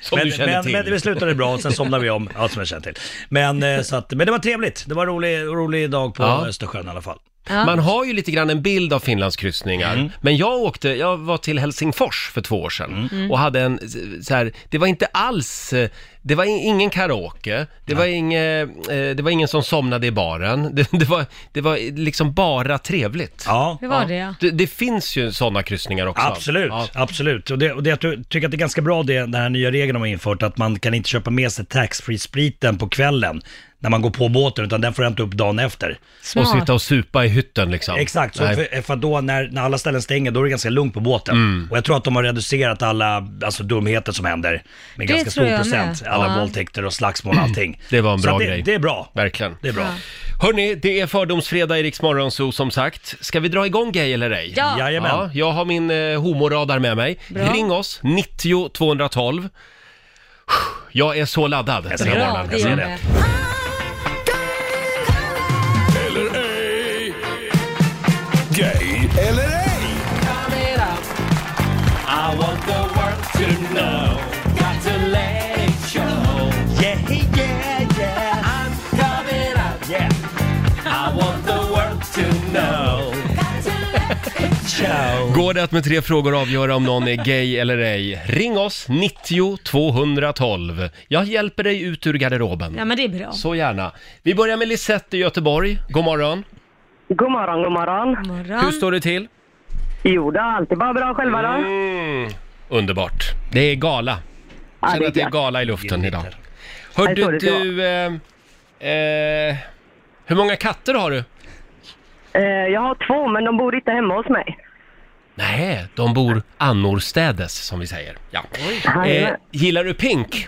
S1: Som
S5: men,
S1: du känner
S5: men,
S1: till.
S5: men vi slutade bra och sen somnade vi om. Ja, som jag känner till. Men, eh, så att, men det var trevligt. Det var en rolig, rolig dag på
S1: Ja.
S5: Östersjön i alla fall.
S1: Man har ju lite grann en bild av Finlandskryssningar.
S5: Mm.
S1: Men jag åkte, jag var till Helsingfors för två år sedan
S5: Mm.
S1: och hade en s- så här, det var inte alls, eh, det var in- ingen karaoke, det var, inge, eh, det var ingen som somnade i baren. Det, det, var, det var liksom bara trevligt.
S5: Ja.
S2: Hur var det ja?
S1: Det, det finns ju sådana kryssningar också.
S5: Absolut,
S1: Ja.
S5: absolut. Och, det, och det, jag ty- tycker att det är ganska bra det, den här nya regeln de har infört, att man kan inte köpa med sig taxfree-spriten på kvällen när man går på båten, utan den får hämta upp dagen efter.
S1: Och
S2: Smart.
S1: sitta och supa i hytten liksom.
S5: Exakt, så
S1: Nej.
S5: för, för att då när, när alla ställen stänger då är det ganska lugnt på båten.
S1: Mm.
S5: Och jag tror att de har reducerat alla alltså, dumheter som händer med
S2: Det
S5: ganska
S2: tror
S5: stor
S2: jag
S5: procent.
S2: med.
S5: Alla
S2: Ja.
S5: våldtäkter och slagsmål och allting.
S1: Mm. Det var en
S5: så
S1: bra
S5: att det,
S1: grej.
S5: Det är bra.
S1: Verkligen.
S5: Det är bra.
S1: Hörni, det är fördomsfredag i Rix Morgonzoo som sagt. Ska vi dra igång gay eller ej?
S2: Ja.
S5: Jajamän.
S1: Ja, jag har min eh, homoradar med mig.
S2: Bra.
S1: Ring oss, 90 212. Jag är så laddad den här
S5: det.
S1: morgonen.
S2: Bra, det
S5: Jag ser
S2: är
S5: det.
S2: det.
S4: Eller ej. Gay eller ej.
S5: Yeah, yeah, yeah. Yeah. I want the world to know. Ciao.
S1: Går det att med tre frågor avgöra om någon är gay eller ej? Ring oss, 90 212. Jag hjälper dig ut ur garderoben.
S2: Ja men det är bra.
S1: Så gärna. Vi börjar med Lisette i Göteborg. God morgon.
S6: God morgon, god morgon.
S2: God
S1: Hur
S2: Morgon.
S1: står det till?
S6: Jo, det är alltid bara bra själva då.
S1: Mm, underbart. Det är gala. Jag känner att det är gala i luften idag.
S6: så är
S1: Hörde
S6: det så.
S1: du... Eh, eh, hur många katter har du?
S6: Eh, Jag har två, men de bor inte hemma hos mig.
S1: Nej, Äh, de bor annorstädes som vi säger. Ja. Eh,
S6: Jajamän.
S1: gillar du Pink?
S6: Ja,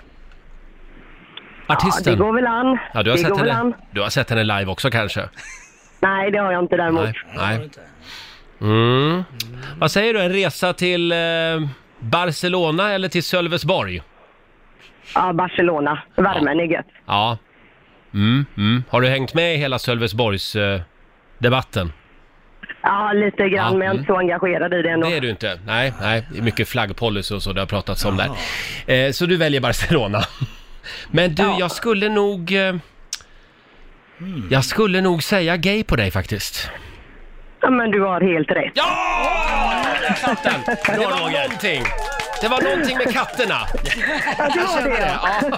S6: det
S1: Artisten?
S6: går väl an.
S1: Ja, du, har
S6: det
S1: sett
S6: går väl
S1: henne,
S6: an.
S1: du har sett henne live också kanske?
S6: Nej, det har jag inte däremot.
S1: Nej. nej. Mm. Vad säger du, en resa till eh, Barcelona eller till Sölvesborg?
S6: Ja, Barcelona. Värmen är gött.
S1: Ja. Mm, mm. Har du hängt med i hela Sölvesborgs eh, debatten?
S6: Ja, lite grann,
S1: Ja,
S6: men jag är inte så engagerad i det ändå.
S1: Det är du inte. Nej, nej. Det är mycket flaggpolicy och så det har pratats om där. Eh, så du väljer Barcelona. Men du, jag skulle nog... Eh, jag skulle nog säga gay på dig faktiskt.
S6: Ja, men du har helt rätt.
S1: Ja! Katten! Det var någonting. Det var någonting med katterna.
S6: Ja, det var det.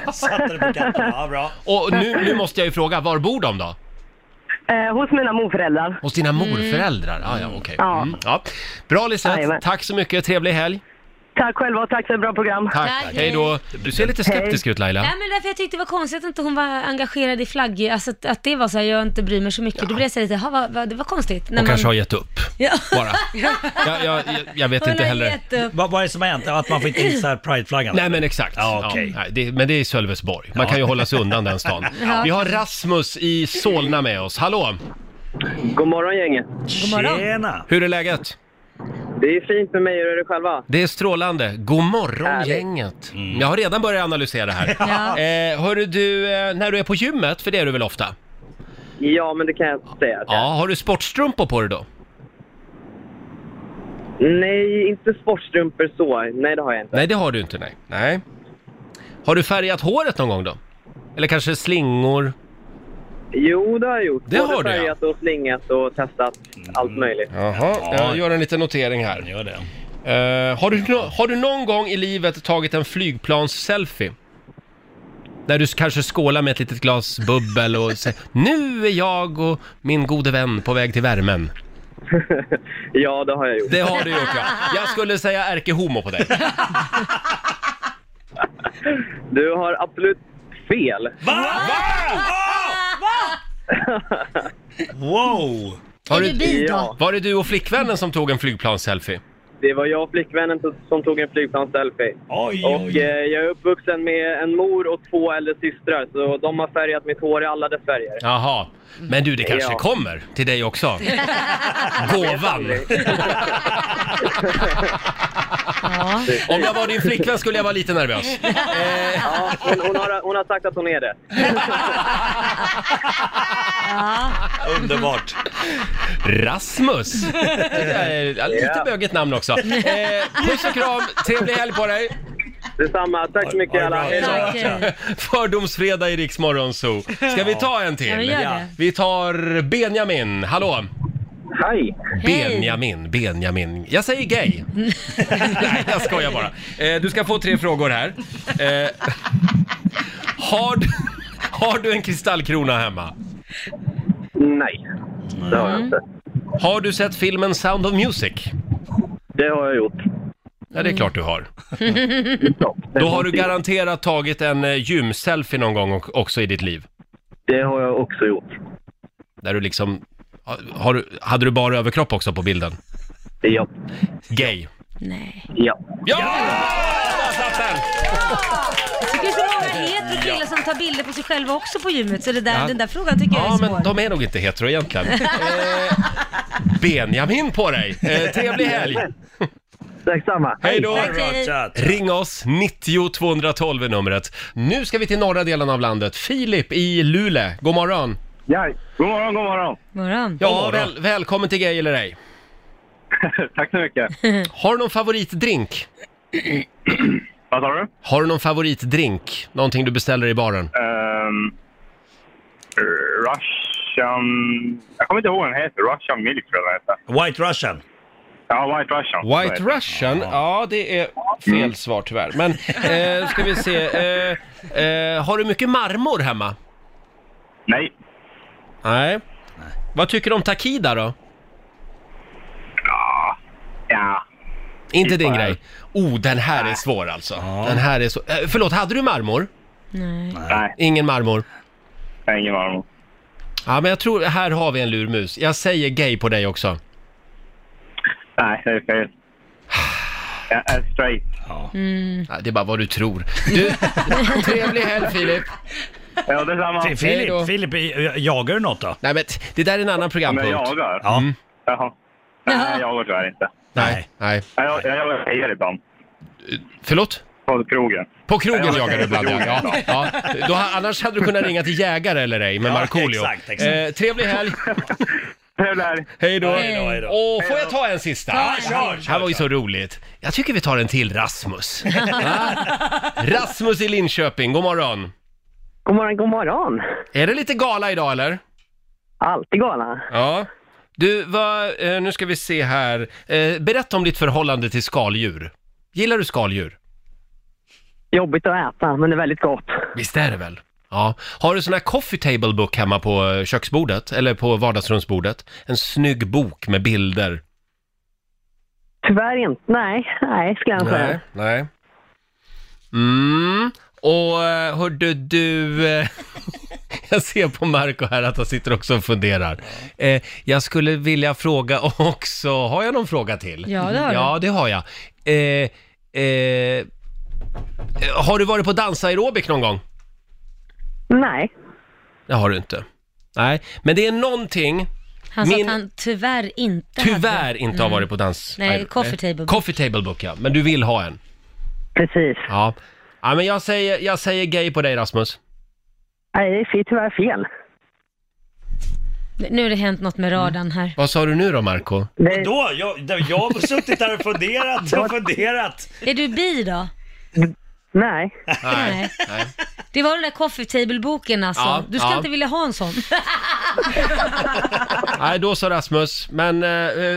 S1: Ja.
S5: Satte det på katten. Ja, bra.
S1: Och nu, nu måste jag ju fråga, var bor de då?
S6: Eh, hos mina morföräldrar.
S1: Hos dina morföräldrar? Ja, ja, okej.
S6: Mm. Ja.
S1: Mm, ja. Bra Lisette,
S6: Jajamän.
S1: tack så mycket. Trevlig helg.
S6: Tack själva och tack för ett bra program.
S1: Tack.
S2: Tack,
S1: Hej då. Du ser lite skeptisk ut Laila.
S2: Nej men därför jag tyckte det var konstigt att inte hon var engagerad i flagg, alltså att, att det var så här, jag inte bryr mig så mycket. Då blev jag så här lite, "Ha, vad, vad, det var konstigt. När
S1: Hon kanske har gett upp.
S2: Ja.
S1: bara. Jag, jag, jag- jag vet
S2: Hon
S1: inte
S2: har
S1: heller.
S2: gett upp.
S5: Vad, vad är det som har hänt? Att man får inte hissa prideflaggan?
S1: Nej men exakt.
S5: Ja, okej.
S1: nej, det, men det är Sölvesborg. Man kan ju hålla sig undan den stan. Vi har Rasmus i Solna med oss. Hallå!
S10: God morgon gänget.
S2: morgon.
S5: Tjena!
S1: Hur är läget?
S11: Det är fint med mig, hur är det själva?
S1: Det är strålande. God morgon gänget. Mm. Jag har redan börjat analysera här.
S11: Ja.
S1: Eh, hörru du, eh, när du är på gymmet, för det är du väl ofta?
S11: Ja, men det kan jag säga.
S1: Ja, har du sportstrumpor på dig då?
S11: Nej, inte sportstrumpor så. Nej, det har jag inte.
S1: Nej, det har du inte, nej. nej. Har du färgat håret någon gång då? Eller kanske slingor?
S11: Jo, det har jag gjort.
S1: Det
S11: Både
S1: har du, ja.
S11: färgat och slingat och testat
S1: Mm.
S11: allt möjligt.
S1: Jaha, jag gör en liten notering här. Gör det. har, du, nå- har du någon gång i livet tagit en flygplans-selfie? Där du s- kanske skålar med ett litet glas bubbel och säger Nu är jag och min gode vän på väg till värmen.
S11: Ja, det har jag gjort.
S1: Det har du gjort ja. Jag skulle säga ärkehomo på dig.
S11: Du har absolut fel.
S1: Wow! Var
S11: Är du bi då? Ja.
S1: var det du och flickvännen som tog en flygplansselfie?
S11: Det var jag och flickvännen som- som tog en flygplansselfie.
S1: Oj,
S11: och
S1: oj.
S11: Eh, jag är uppvuxen med en mor och två äldre systrar, så de har färgat mitt hår i alla dess färger.
S1: Jaha. Men du, det kanske
S11: Ja.
S1: kommer till dig också. Gåvan! Om jag var din flickvän skulle jag vara lite nervös.
S11: Ja, hon, hon, har, hon har sagt att hon är det.
S1: Underbart! Rasmus! Det är ja, lite
S11: Ja.
S1: bögigt namn också. Eh, puss och kram, trevlig helg på dig!
S11: Detsamma, tack så mycket alla. Hej då.
S1: Fördomsfredag i Rix Morgon Zoo. Ska vi ta en till?
S11: Ja, vi gör det.
S1: Vi tar Benjamin, hallå!
S12: Hej!
S1: Benjamin, Benjamin. Jag säger gay. Nej, jag skojar bara. Eh, du ska få tre frågor här. Eh, har, du, har du en kristallkrona hemma?
S11: Nej, det har jag inte.
S1: Har du sett filmen Sound of Music?
S11: Det har jag gjort.
S1: Ja, det är klart du har.
S11: Det
S1: Då har
S11: har
S1: du
S11: jag.
S1: garanterat tagit en eh, gymselfie någon gång och- också i ditt liv.
S11: Det har jag också gjort.
S1: Där du liksom... ha- Har, du- hade du bara överkropp också på bilden?
S11: Ja.
S1: Gay?
S2: Nej.
S11: Ja.
S2: Det finns ju många heterokillar som tar bilder på sig själva också på gymmet, så det där,
S1: Ja.
S2: den där frågan tycker jag är
S1: Ja,
S2: svår.
S1: men de är nog inte hetero egentligen. Eh, Benjamin på dig! Eh, trevlig helg!
S11: Tack samma.
S1: Hej då!
S4: Tack, hej. Bra,
S1: Ring oss, 90 212 är numret. Nu ska vi till norra delen av landet. Filip i Luleå, god morgon!
S12: Ja, god morgon, god morgon!
S2: morgon.
S1: Ja,
S12: God morgon.
S1: Väl, välkommen till Gay eller ej.
S12: Tack så mycket. Mm.
S1: Har du någon favoritdrink?
S12: Vad sa du?
S1: Har du någon favoritdrink? Någonting du beställer i baren?
S12: Um, Russian... Jag kommer inte ihåg vad den heter. Russian Milk tror jag den heter. White Russian? Ja, White Russian.
S1: White Russian? Ja, det är fel svar tyvärr. Men eh, ska vi se. Eh, eh, har du mycket marmor hemma?
S12: Nej.
S1: Nej. Vad tycker du om Takida då?
S12: Ja.
S1: Inte din
S12: Typ
S1: grej? Oh, den här är svår alltså. Den här är så... Eh, förlåt, hade du marmor?
S2: Nej.
S12: Nej.
S1: Ingen marmor?
S12: Ingen marmor.
S1: Ja, men jag tror, här har vi en lurmus. Jag säger gay på dig också.
S12: Nej, det är fel. Jag är straight.
S1: Mm. Ja, det är bara vad du tror. Du, trevlig helg Filip!
S12: Ja, detsamma.
S1: Hej då.
S5: Filip, Filip, eh, jagar du något då?
S1: Nej men t- det där är en annan
S12: Men
S1: programpunkt.
S12: jag jagar?
S5: Ja.
S12: Jaha. Nej, jag jagar tyvärr inte.
S1: Nej. Nej. Eh,
S12: Jag, jag jagar tjejer ibland.
S1: Förlåt?
S12: På krogen.
S1: På krogen
S12: Jag
S1: jagar
S12: jagar
S1: du ibland
S12: på
S1: ja.
S12: krogen
S1: ja. ja. Då, ha- annars hade du kunnat ringa till jägare eller ej med
S5: Ja,
S1: Markoolio.
S5: exakt, exakt.
S1: Eh, trevlig helg!
S12: Trevlig helg!
S1: Hej då!
S5: Hej då, hej då.
S1: Åh, får jag ta en sista?
S5: Ja, kör,
S1: Det
S5: kör,
S1: här var ju så roligt. Jag tycker vi tar en till Rasmus. Va? Rasmus i Linköping, god morgon.
S11: God morgon, god morgon.
S1: Är det lite gala idag eller?
S11: Alltid gala.
S1: Ja. Du, vad, eh, nu ska vi se här. Eh, berätta om ditt förhållande till skaldjur. Gillar du skaldjur?
S11: Jobbigt att äta, men det är väldigt gott.
S1: Visst är det väl? Ja. Har du sån här coffee table book hemma på eh, köksbordet? Eller på vardagsrumsbordet? En snygg bok med bilder?
S11: Tyvärr inte. Nej, nej, skulle jag inte
S1: Nej,
S11: säga.
S1: nej. Mm. Och eh, hörde du... eh, Jag ser på Marco här att han sitter också och funderar. Eh, jag skulle vilja fråga också... Har jag någon fråga till?
S2: Ja, det har du.
S1: Ja, det har jag. Eh, eh, har du varit på dansaerobik någon gång?
S11: Nej.
S1: Det har du inte. Nej, men det är någonting
S2: Han sa
S1: Min-
S2: att han tyvärr inte
S1: Tyvärr
S2: hade.
S1: inte har
S2: Mm.
S1: varit på dans...
S2: Nej, Coffee Table Book.
S1: Coffee Table Book, ja. Men du vill ha en?
S13: Precis.
S1: Ja. Ja, men jag säger, jag säger gay på dig Rasmus.
S13: Nej, det är tyvärr fel.
S2: Nu har det hänt något med radarn här.
S1: Vad sa du nu då Marco?
S5: Vadå? Jag, jag har suttit där och funderat och funderat.
S2: Är du bi då?
S13: Nej.
S1: Nej. Nej.
S2: Det var den där coffee table-boken alltså.
S1: Ja,
S2: du ska
S1: ja.
S2: inte vilja ha en sån.
S1: Nej, då sa Rasmus. Men, eh,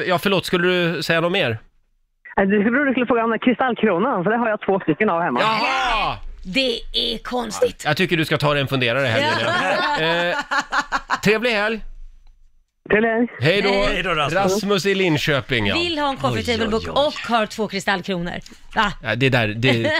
S1: ja förlåt, skulle du säga något mer?
S13: Nej, Äh, Du trodde du skulle fråga om kristallkronan, för det har jag två stycken av hemma.
S1: Jaha!
S2: Det är konstigt.
S1: Jag tycker du ska ta dig en funderare i helgen. ja. Eh, trevlig helg!
S13: Till helg!
S1: Hej då!
S2: Hej. Hej
S5: då,
S1: Rasmus.
S5: Rasmus.
S1: i Linköping ja.
S2: Vill ha en coffee table book och har två kristallkronor. Ah.
S1: Ja, det där, det...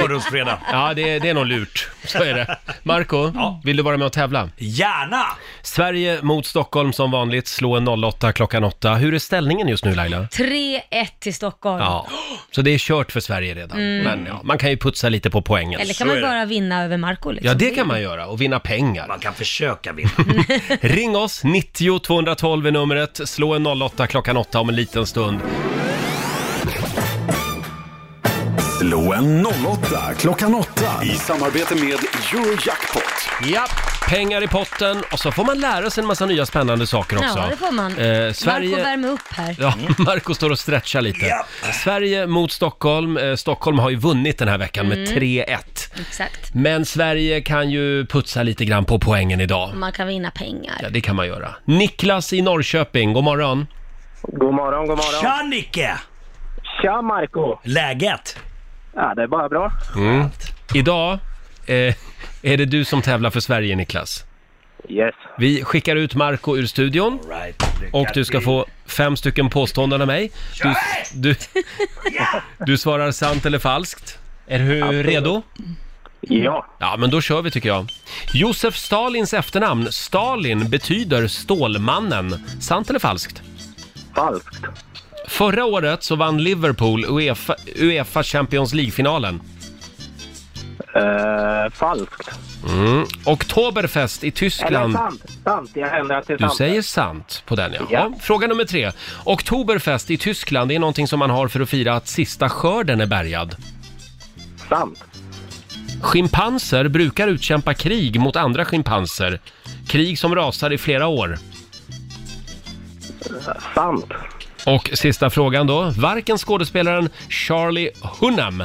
S5: Fördomsfredag.
S1: Ja, det, det är nog lurt. Så är det. Marco, vill du vara med och tävla?
S5: Gärna!
S1: Sverige mot Stockholm som vanligt, slå en 08 klockan 8. Hur är ställningen just nu Laila?
S2: 3-1 till Stockholm.
S1: Ja, så det är kört för Sverige redan.
S2: Mm.
S1: Men ja, man kan ju putsa lite på poängen.
S2: Eller kan man bara vinna över Marco liksom?
S1: Ja, det kan man göra och vinna pengar. Man
S5: kan försöka vinna.
S1: Ring oss, 90 212 är numret. Slå en 08 klockan 8 om en liten stund.
S4: Slå en 08 klockan 8 i samarbete med Eurojackpot.
S1: Ja, pengar i potten och så får man lära sig en massa nya spännande saker också.
S2: Ja, det får man.
S1: Eh, Sverige...
S2: Marco värmer upp här.
S1: Ja, Marco står och stretchar lite. Sverige mot Stockholm. Eh, Stockholm har ju vunnit den här veckan
S2: Mm.
S1: med 3-1.
S2: Exakt.
S1: Men Sverige kan ju putsa lite grann på poängen idag.
S2: Man kan vinna pengar.
S1: Ja, det kan man göra. Niklas i Norrköping, god morgon.
S14: God morgon, god morgon.
S5: Tja Nicke!
S14: Tja Marco!
S5: Läget?
S14: Ja, det är bara bra.
S1: Mm. Idag eh, är det du som tävlar för Sverige, Niklas.
S14: Yes.
S1: Vi skickar ut Marco ur studion och du ska få fem stycken påståenden av mig. Du, du, du svarar sant eller falskt. Är du
S14: Absolut.
S1: redo?
S14: Ja.
S1: Ja, men då kör vi tycker jag. Josef Stalins efternamn, Stalin, betyder Stålmannen. Sant eller falskt?
S14: Falskt.
S1: Förra året så vann Liverpool Uefa, UEFA Champions League-finalen.
S14: Eh, falskt.
S1: Mm. Oktoberfest i Tyskland.
S14: Eller sant. Sant. Jag ändrar till
S1: Du
S14: sant.
S1: säger sant på den ja. ja. Fråga nummer tre. Oktoberfest i Tyskland det är någonting som man har för att fira att sista skörden är bärgad.
S14: Sant.
S1: Schimpanser brukar utkämpa krig mot andra schimpanser. Krig som rasar i flera år.
S14: Sant.
S1: Och sista frågan då. Varken skådespelaren Charlie Hunnam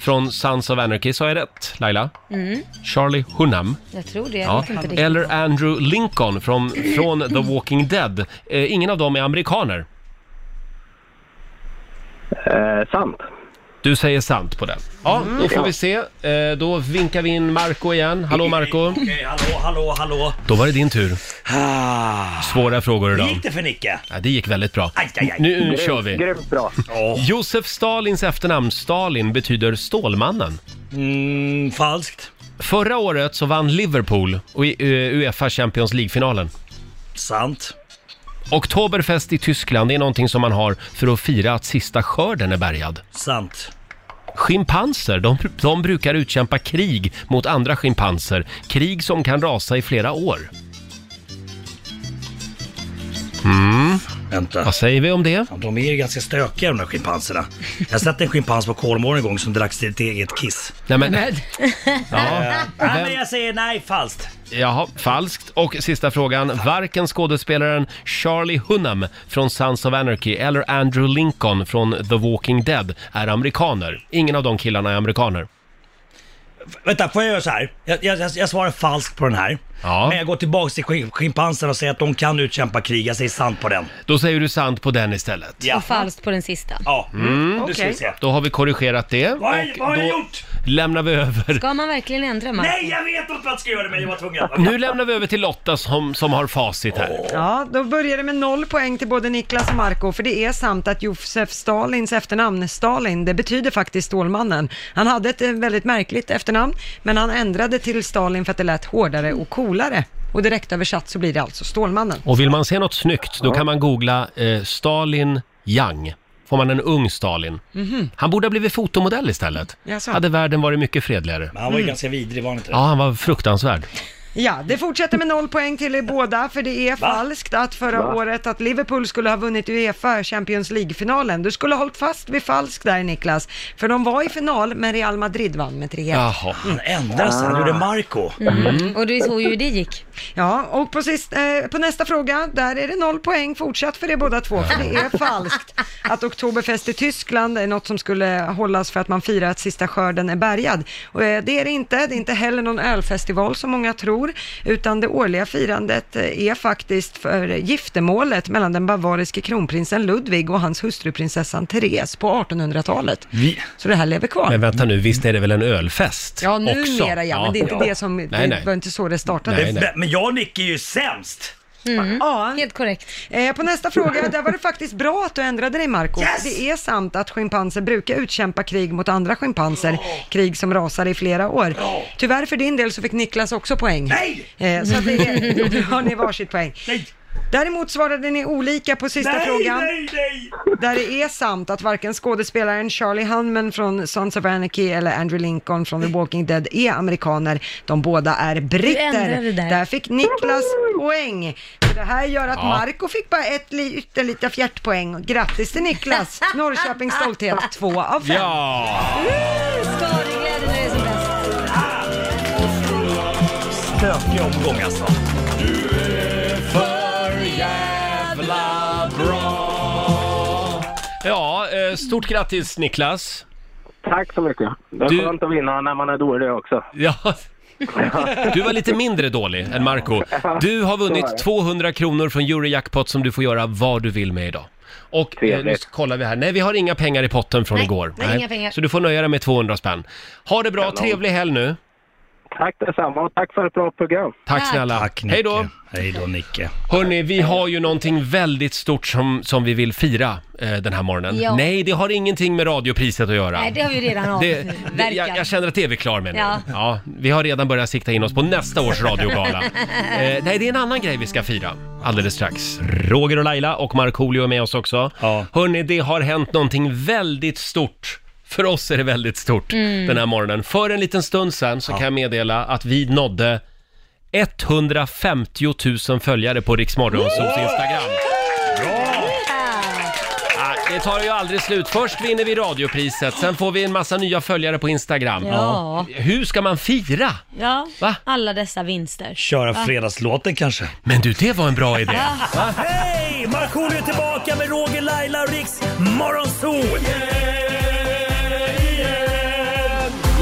S1: från Sons of Anarchy, sa jag rätt Laila?
S2: Mm,
S1: Charlie Hunnam.
S2: jag tror det. Jag
S1: Ja.
S2: vet inte riktigt.
S1: Eller Andrew Lincoln från, från The Walking Dead. Eh, ingen av dem är amerikaner.
S14: Eh, sant.
S1: Du säger sant på den. Ja,
S5: Mm.
S1: då får
S5: Ja.
S1: vi se. Eh, då vinkar vi in Marco igen. Hallå Marco.
S5: Okej, hallå, hallå, hallå.
S1: Då var det din tur. Ah. Svåra frågor
S5: Hur
S1: idag.
S5: gick det för Nicke?
S1: Ja, det gick väldigt bra.
S5: aj, aj.
S1: Nu
S5: Grymt,
S1: kör vi.
S5: grymt bra.
S1: Josef Stalins efternamn Stalin betyder Stålmannen.
S5: Mm, falskt.
S1: Förra året så vann Liverpool och i- eh, Uefa Champions League-finalen.
S5: Sant.
S1: Oktoberfest i Tyskland det är någonting som man har för att fira att sista skörden är bärgad.
S5: Sant.
S1: Schimpanser, de, de brukar utkämpa krig mot andra schimpanser. Krig som kan rasa i flera år. Mm.
S5: Vänta.
S1: Vad säger vi om det?
S5: De är ju ganska stökiga de där schimpanserna. Jag har sett en schimpans på Kolmården en gång som drack sitt eget kiss.
S1: Nej, men- Men- Ja.
S5: Ja. Nej, men jag säger nej, falskt.
S1: Jaha, falskt. Och sista frågan. Varken skådespelaren Charlie Hunnam från Sons of Anarchy eller Andrew Lincoln från The Walking Dead är amerikaner. Ingen av de killarna är amerikaner.
S5: Vänta, får jag göra så här? Jag, jag, jag, jag svarar falskt på den här. Men jag går tillbaks till schim- schimpanserna och säger att de kan utkämpa krig. Jag säger sant på den.
S1: Då säger du sant på den istället.
S5: Ja.
S2: Och falskt på den sista.
S5: Ja.
S1: Mm.
S2: Nu ska vi se.
S1: Då har vi korrigerat det.
S5: Vad har-
S1: Och
S5: vad har jag
S1: då lämnar vi över.
S2: Ska man verkligen ändra Marco?
S5: Nej, jag vet inte vad jag ska göra men jag var tvungen.
S1: Nu lämnar vi över till Lotta som, som har facit här.
S3: Ja, då börjar det med noll poäng till både Niklas och Marco, för det är sant att Josef Stalins efternamn, Stalin, det betyder faktiskt Stålmannen. Han hade ett eh, väldigt märkligt efternamn, men han ändrade till Stalin för att det lät hårdare och coolare. Och direkt översatt så blir det alltså Stålmannen.
S1: Och vill man se något snyggt, då kan man googla eh, Stalin Young. Får man en ung Stalin.
S3: Mhm.
S1: Han borde ha blivit fotomodell istället.
S3: Jaså.
S1: Hade världen varit mycket fredligare.
S5: Men han var ju ganska vidrig var han inte?
S1: Ja, han var fruktansvärd.
S3: Ja, det fortsätter med noll poäng till er båda, för det är falskt att förra
S15: Va?
S3: året att Liverpool skulle ha vunnit Uefa Champions League-finalen. Du skulle ha hållit fast vid falskt där Niklas, för de var i final, men Real Madrid vann med 3-1.
S1: Jaha.
S5: Han ändras, han gjorde Marco.
S2: Mm. Och du såg ju hur det gick.
S3: Ja, och på, sist, eh, på nästa fråga, där är det noll poäng fortsatt för er båda två, för det är falskt att Oktoberfest i Tyskland är något som skulle hållas för att man firar att sista skörden är bärgad. Och, eh, det är det inte, det är inte heller någon ölfestival som många tror, utan det årliga firandet eh, är faktiskt för giftermålet mellan den bavariske kronprinsen Ludvig och hans hustru prinsessan Therese på 1800-talet.
S1: Vi...
S3: Så det här lever kvar.
S1: Men vänta nu, visst är det väl en ölfest
S3: Ja,
S1: också?
S3: numera ja, men det är inte
S1: Ja.
S3: det som,
S1: Nej, nej.
S3: det var inte så det startade.
S1: Nej, nej.
S5: Men jag och Nick är ju sämst!
S2: Mm.
S3: Ja.
S2: Helt korrekt.
S3: Eh, på nästa fråga, där var det faktiskt bra att du ändrade dig Marco. Det är sant att schimpanser brukar utkämpa krig mot andra schimpanser, krig som rasar i flera år. Tyvärr för din del så fick Niklas också poäng.
S5: Nej!
S3: Eh, så att det är, nu har ni varsitt poäng.
S5: Nej!
S3: Däremot svarade ni olika på sista
S5: nej,
S3: frågan.
S5: nej, nej!
S3: Där det är sant att varken skådespelaren Charlie Hunnam från Sons of Anarchy eller Andrew Lincoln från The Walking Dead är amerikaner. De båda är britter.
S2: ändrade där.
S3: fick Niklas poäng. Så Det här gör att
S2: Ja.
S3: Marco fick bara ett li- ytterligare fjärtpoäng. Grattis till Niklas! Norrköpings stolthet, två av fem.
S1: Ja!
S2: Skadeglädje när det är som bäst.
S5: Stökig omgång alltså.
S1: Ja, eh, stort grattis Niklas.
S14: Tack så mycket. Det är
S1: Du-
S14: skönt att vinna när man är dålig också.
S1: Ja. Du var lite mindre dålig än Marco. Du har
S14: Så är
S1: vunnit
S14: det.
S1: 200 kronor från Eurojackpot som du får göra vad du vill med idag. Och eh, nu
S14: Trevligt.
S1: kollar vi här. Nej, vi har inga pengar i potten från
S2: Nej,
S1: igår.
S2: nej, inga pengar.
S1: Så du får nöja dig med 200 spänn. Ha det bra,
S14: Kanon.
S1: trevlig helg nu.
S14: Tack detsamma och tack för ett bra program.
S1: Tack snälla. Hej då.
S5: Hej då Nicke.
S1: Hörni, vi har ju någonting väldigt stort som, som vi vill fira eh, den här morgonen.
S2: Ja.
S1: Nej, det har ingenting med radiopriset att göra.
S2: Nej, det har vi redan
S1: Det- det,
S2: avverkat.
S1: jag, jag känner att det är vi klar med nu. Ja.
S2: Ja.
S1: vi har redan börjat sikta in oss på nästa års radiogala. eh, nej, det är en annan grej vi ska fira alldeles strax. Roger och Laila och Markoolio är med oss också. Ja. Hörni, det har hänt någonting väldigt stort. För oss är det väldigt stort
S2: Mm.
S1: den här morgonen. För en liten stund sedan så kan jag meddela att vi nådde 150 000 följare på Riksmorgonsols Instagram. Ah, Det tar ju aldrig slut. Först vinner vi radiopriset, sen får vi en massa nya följare på Instagram.
S2: Ja.
S1: Hur ska man fira?
S2: Ja, alla dessa vinster. Va?
S1: fredagslåten kanske. Men du, det var en bra idé.
S5: Hej! Markoolio är tillbaka med Roger, Laila och Riks Morgonzoo!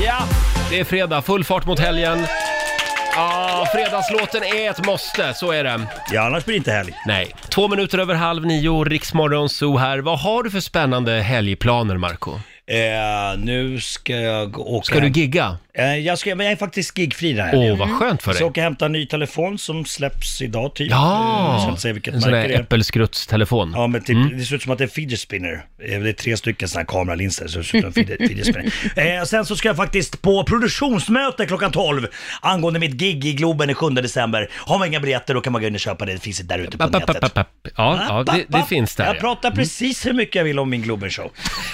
S1: Ja, det är fredag, full fart mot helgen. Ja, fredagslåten är ett måste, så är det.
S5: Ja, annars blir det inte helg.
S1: Nej. Två minuter över halv nio, Riksmorgon Zoo här. Vad har du för spännande helgplaner, Marco?
S5: Eh, nu ska jag åka
S1: Ska du gigga?
S5: Eh, jag, ska, men jag är faktiskt gigfri den här
S1: Åh,
S5: helgen. Mm.
S1: vad skönt för dig.
S5: Så jag åker hämta en ny telefon som släpps idag typ. Eh, Jag ska
S1: Ja!
S5: inte säga vilket
S1: En sån
S5: märke
S1: här Mm.
S5: det är.
S1: äppelskrutstelefon.
S5: Ja, men typ, det ser ut som att det är fidget spinner. Eh, Det är tre stycken sådana här kameralinser så det ser ut som en fidget, fidget spinner. Eh, sen så ska jag faktiskt på produktionsmöte klockan 12 angående mitt gig i Globen den 7 december. Har man inga biljetter då kan man gå in och köpa det. Det finns där ute på
S1: App, app,
S5: nätet.
S1: app, app. Ja, ja, det- det
S5: app.
S1: finns där,
S5: Jag
S1: ja. Mm.
S5: pratar precis hur mycket jag vill om min Globen-show.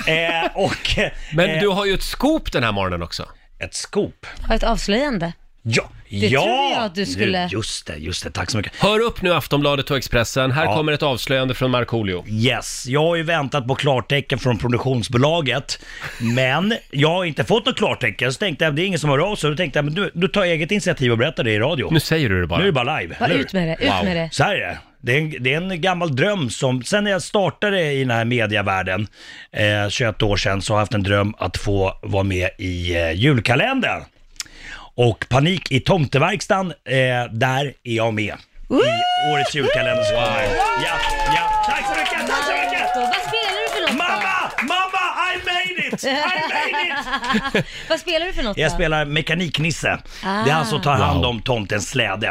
S5: Eh, och, eh,
S1: Men du har ju ett scoop den här morgonen också.
S5: Ett scoop?
S2: Har ett avslöjande.
S5: Ja!
S2: Det trodde jag att du
S5: Nu,
S2: skulle-
S5: Just det, just det. Tack så mycket.
S1: Hör upp nu Aftonbladet och Expressen. Här kommer ett avslöjande från Markoolio.
S5: Yes, jag har ju väntat på klartecken från produktionsbolaget. Men jag har inte fått något klartecken, så tänkte jag det är ingen som hör av sig. Då tänkte jag men du, du tar jag eget initiativ och berättar det i radio.
S1: Nu säger du det bara.
S5: Nu är det bara live.
S2: Va,
S5: eller hur?
S2: ut med det, ut Wow. med det.
S5: Så här är det. Det är, en, det är en gammal dröm som, sen när jag startade i den här mediavärlden, eh, 21 år sedan, så har jag haft en dröm att få vara med i eh, julkalendern. Och Panik i tomteverkstan, eh, där är jag med. I årets julkalender som kommer. Ja, ja. Tack så mycket, tack så mycket!
S2: Vad spelar du för något då?
S5: Mamma! Mamma! I made it! I made
S2: it! Vad spelar du för något
S5: Jag
S2: då?
S5: spelar mekaniknisse.
S2: Ah.
S5: Det är han som tar hand om tomtens släde.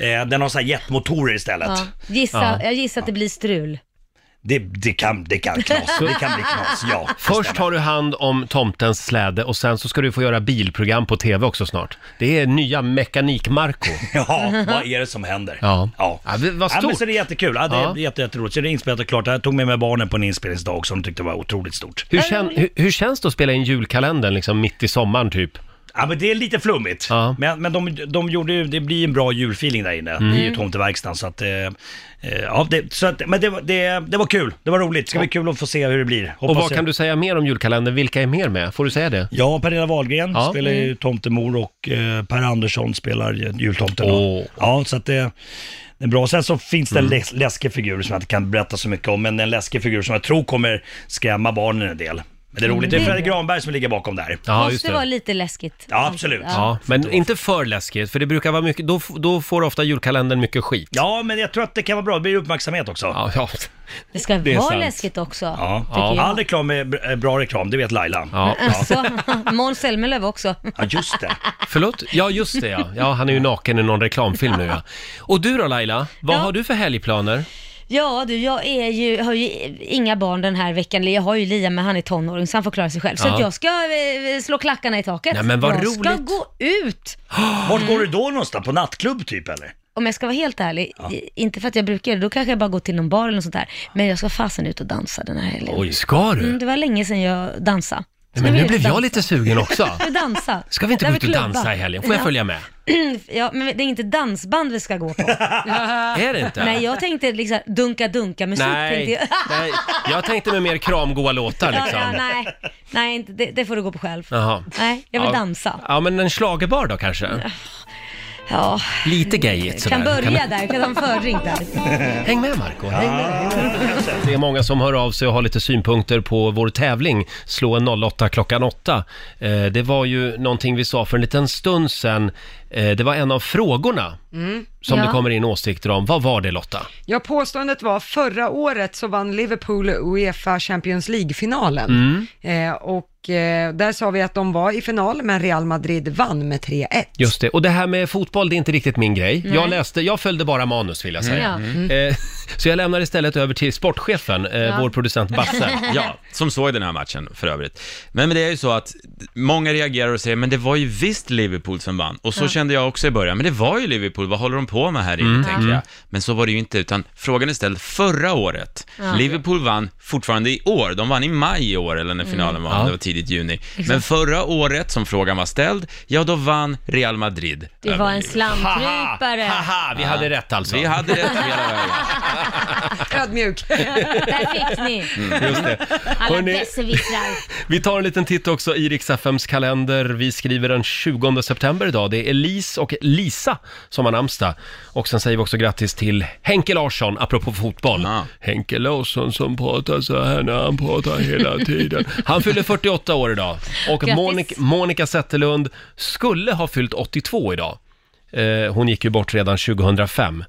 S5: Eh, den har så här jetmotorer istället.
S2: Ja. Gissa, Jag gissar att det blir strul.
S5: Det, det, kan, det kan knas. Det kan bli knas, ja.
S1: Först har du hand om tomtens släde och sen så ska du få göra bilprogram på tv också snart. Det är nya Mekanik-Marco.
S5: Ja, vad är det som händer?
S1: Ja.
S5: Ja.
S1: det- vad
S5: Ja, men
S1: stort.
S5: så det är jättekul. Ja, det
S1: Ja.
S5: är jätte, jätteroligt. Så det är inspelat och klart. Jag tog med mig barnen på en inspelningsdag också. De tyckte det var otroligt stort.
S1: Hur, kän, hur, hur känns det att spela in julkalendern liksom mitt i sommaren typ?
S5: Ja, men det är lite flummigt. Men, men de, de gjorde ju, det blir en bra julfeeling där inne
S1: Mm.
S5: i tomteverkstan. Så att, eh, eh, ja, det, så att, men det, var- det, det var kul, det var roligt. Det ska bli kul att få se hur det blir.
S1: Och vad kan du säga mer om julkalendern? Vilka är mer med? Får du säga det?
S5: Ja, Pernilla Wahlgren
S1: Ja.
S5: spelar ju
S1: Mm.
S5: tomtemor och eh, Per Andersson spelar ju jultomten. då. Ja, så att det, det är bra. Sen så finns det en
S1: Mm.
S5: läs- läskig figur som jag inte kan berätta så mycket om, men en läskig figur som jag tror kommer skrämma barnen en del. Men det är roligt, det är
S2: Mm.
S5: Fredrik Granberg som ligger bakom där.
S2: Måste vara lite läskigt.
S5: Ja, absolut.
S1: Ja, men inte för läskigt, för det brukar vara mycket, då, f- då får ofta julkalendern mycket skit.
S5: Ja, men jag tror att det kan vara bra. Det blir uppmärksamhet också.
S1: Ja, ja.
S2: Det ska
S5: Det är
S2: vara
S5: sant.
S2: läskigt också.
S5: Ja.
S2: tycker
S5: Ja.
S2: jag.
S5: All reklam är b- är bra reklam, det vet Laila.
S1: Ja.
S2: Alltså, Måns Zelmerlöw också.
S5: Ja, just det.
S1: Förlåt? Ja, just det ja. ja. Han är ju naken i någon reklamfilm nu ja. Och du då Laila, vad har du för helgplaner?
S2: Ja du, jag är ju, har ju inga barn den här veckan. Eller Jag har ju Liam, men han är tonåring så han får klara sig själv. Så
S1: Ja.
S2: att jag ska eh, slå klackarna i taket.
S5: Nej, men vad
S2: jag ska
S5: roligt.
S2: gå ut.
S5: Vart går du då någonstans? På nattklubb typ eller?
S2: Om jag ska vara helt ärlig, i- inte för att jag brukar det, då kanske jag bara går till någon bar eller något sånt där. Men jag ska fasen ut och dansa den här helgen.
S1: Oj, ska du?
S2: Mm, det var länge sedan jag dansade.
S1: Nej, men nu blev jag lite sugen också.
S2: dansa.
S1: Ska vi inte
S2: Där
S1: gå ut och
S2: klubbar.
S1: dansa i helgen? Får jag
S2: Ja.
S1: följa med?
S2: Ja, men det är inte dansband vi ska gå på.
S1: Är det inte?
S2: Nej, jag tänkte liksom dunka-dunka-musik. Tänkte
S1: Nej,
S2: jag.
S1: nej, jag tänkte med mer kramgoa låtar
S2: Ja, ja,
S1: liksom.
S2: nej, nej inte, det, det får du gå på själv.
S1: Jaha.
S2: Nej, jag vill
S1: Ja.
S2: dansa.
S1: Ja, men en schlagerbar då kanske?
S2: Ja.
S1: Lite gayigt sådär.
S2: Kan börja
S1: Kan-
S2: där, kan ta en fördrink där.
S1: Häng med Marco. Häng med. Det är många som hör av sig och har lite synpunkter på vår tävling Slå en 08 klockan 8. Eh, Det var ju någonting vi sa för en liten stund sedan. Eh, Det var en av frågorna
S3: Mm.
S1: som det kommer in åsikter om. Vad var det Lotta?
S3: Ja, påståendet var förra året så vann Liverpool Uefa Champions League-finalen.
S1: Mm.
S3: Eh, och eh, där sa vi att de var i final, men Real Madrid vann med 3-1.
S1: Just det, och det här med fotboll det är inte riktigt min grej.
S3: Nej.
S1: Jag läste, jag följde bara manus vill jag säga.
S3: Mm.
S1: Eh, Så jag lämnar istället över till sportchefen, eh, vår producent Basse.
S15: Ja, som såg den här matchen för övrigt. Men, men det är ju så att många reagerar och säger, men det var ju visst Liverpool som vann. Och så
S1: Ja.
S15: kände jag också i början, men det var ju Liverpool, vad håller de på med här inne,
S1: Mm.
S15: tänker
S1: Mm.
S15: jag. Men så var det ju inte, utan frågan är ställd förra året.
S1: Ja.
S15: Liverpool vann fortfarande i år, de vann i maj i år, eller när finalen
S1: Mm.
S15: var,
S1: Ja.
S15: det var tidigt juni.
S2: Exakt.
S15: Men förra året, som frågan var ställd, ja då vann Real Madrid.
S2: Det
S15: över
S2: var en
S15: Liverpool.
S2: slamkrypare.
S1: Haha, vi hade rätt alltså.
S15: Vi hade rätt hela vägen.
S3: Ödmjuk.
S2: Där fick ni.
S1: Mm, just det.
S2: Alla
S1: Hörrni-
S2: besserwissrar.
S1: Vi tar en liten titt också i Riks-FMs kalender. Vi skriver den 20 september idag. Det är Elise och Lisa som har namnsdag. Och sen säger vi också grattis till Henke Larsson, apropå fotboll. Henke Larsson som pratar så här när han pratar hela tiden. Han fyller 48 år idag. Och
S15: Grattis.
S1: Monica, Monica Zetterlund skulle ha fyllt 82 idag. Eh, hon gick ju bort redan 2005.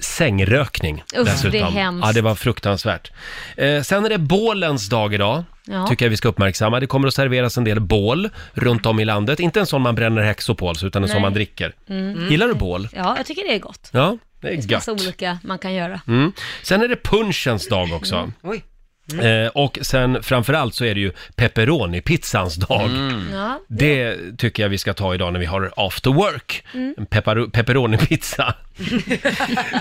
S1: Sängrökning
S2: Usch,
S1: dessutom.
S2: det är hemskt.
S1: Ja, det var fruktansvärt. Eh, sen är det bålens dag idag.
S2: Ja.
S1: Tycker jag vi ska uppmärksamma. Det kommer att serveras en del bål runt om i landet. Inte en sån man bränner häxor på alltså, utan en sån
S2: Nej.
S1: man dricker.
S2: Mm.
S1: Gillar du bål?
S2: Ja, jag tycker det är gott.
S1: Ja,
S2: Det
S1: det är
S2: finns massa
S1: gött.
S2: olika man kan göra. Mm.
S1: Mm. Sen är det punschens dag också.
S3: Oj.
S1: Eh, och sen framförallt så är det ju pepperoni-pizzans dag.
S2: Ja.
S1: Det tycker jag vi ska ta idag när vi har after work.
S2: Mm.
S1: En peppar- pepperoni-pizza.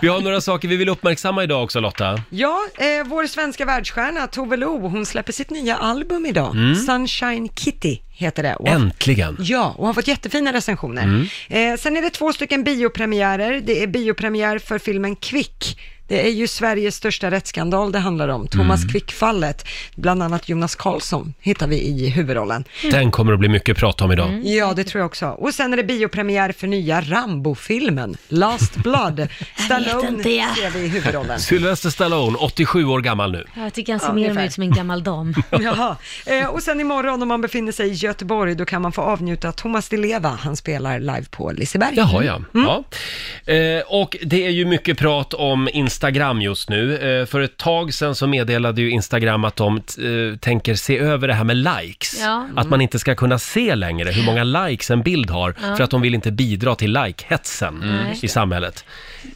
S1: vi har några saker vi vill uppmärksamma idag också Lotta.
S3: Ja, eh, vår svenska världsstjärna Tove Lo, hon släpper sitt nya album idag.
S1: Mm.
S3: Sunshine Kitty heter det. Och-
S1: Äntligen!
S3: Ja, och har fått jättefina recensioner.
S1: Mm.
S3: Eh, sen är det två stycken biopremiärer. Det är biopremiär för filmen Quick. Det är ju Sveriges största rättsskandal det handlar om, Thomas
S1: Mm.
S3: Quick-fallet. Bland annat Jonas Karlsson hittar vi i huvudrollen.
S1: Mm.
S3: Mm.
S1: Den kommer att bli mycket prat om idag.
S3: Ja, det tror jag också. Och sen är det biopremiär för nya Rambo-filmen, Last Blood. Stallone
S2: inte, ja.
S3: ser vi i huvudrollen.
S1: Sylvester Stallone, 87 år gammal nu.
S2: Jag tycker han ser
S3: Ja,
S2: mer
S3: ungefär.
S2: ut som en gammal dam.
S3: Jaha. Eh, och sen imorgon om man befinner sig i Göteborg, då kan man få avnjuta Thomas Di Leva. Han spelar live på Liseberg.
S1: Jaha, ja. ja. Eh, och det är ju mycket prat om Instagram just nu. Eh, för ett tag sedan så meddelade ju Instagram att de t- eh, tänker se över det här med likes.
S2: Ja.
S1: Att man inte ska kunna se längre hur många likes en bild har
S2: Ja. Mm.
S1: för att de vill inte bidra till like-hetsen
S2: Nej.
S1: i samhället.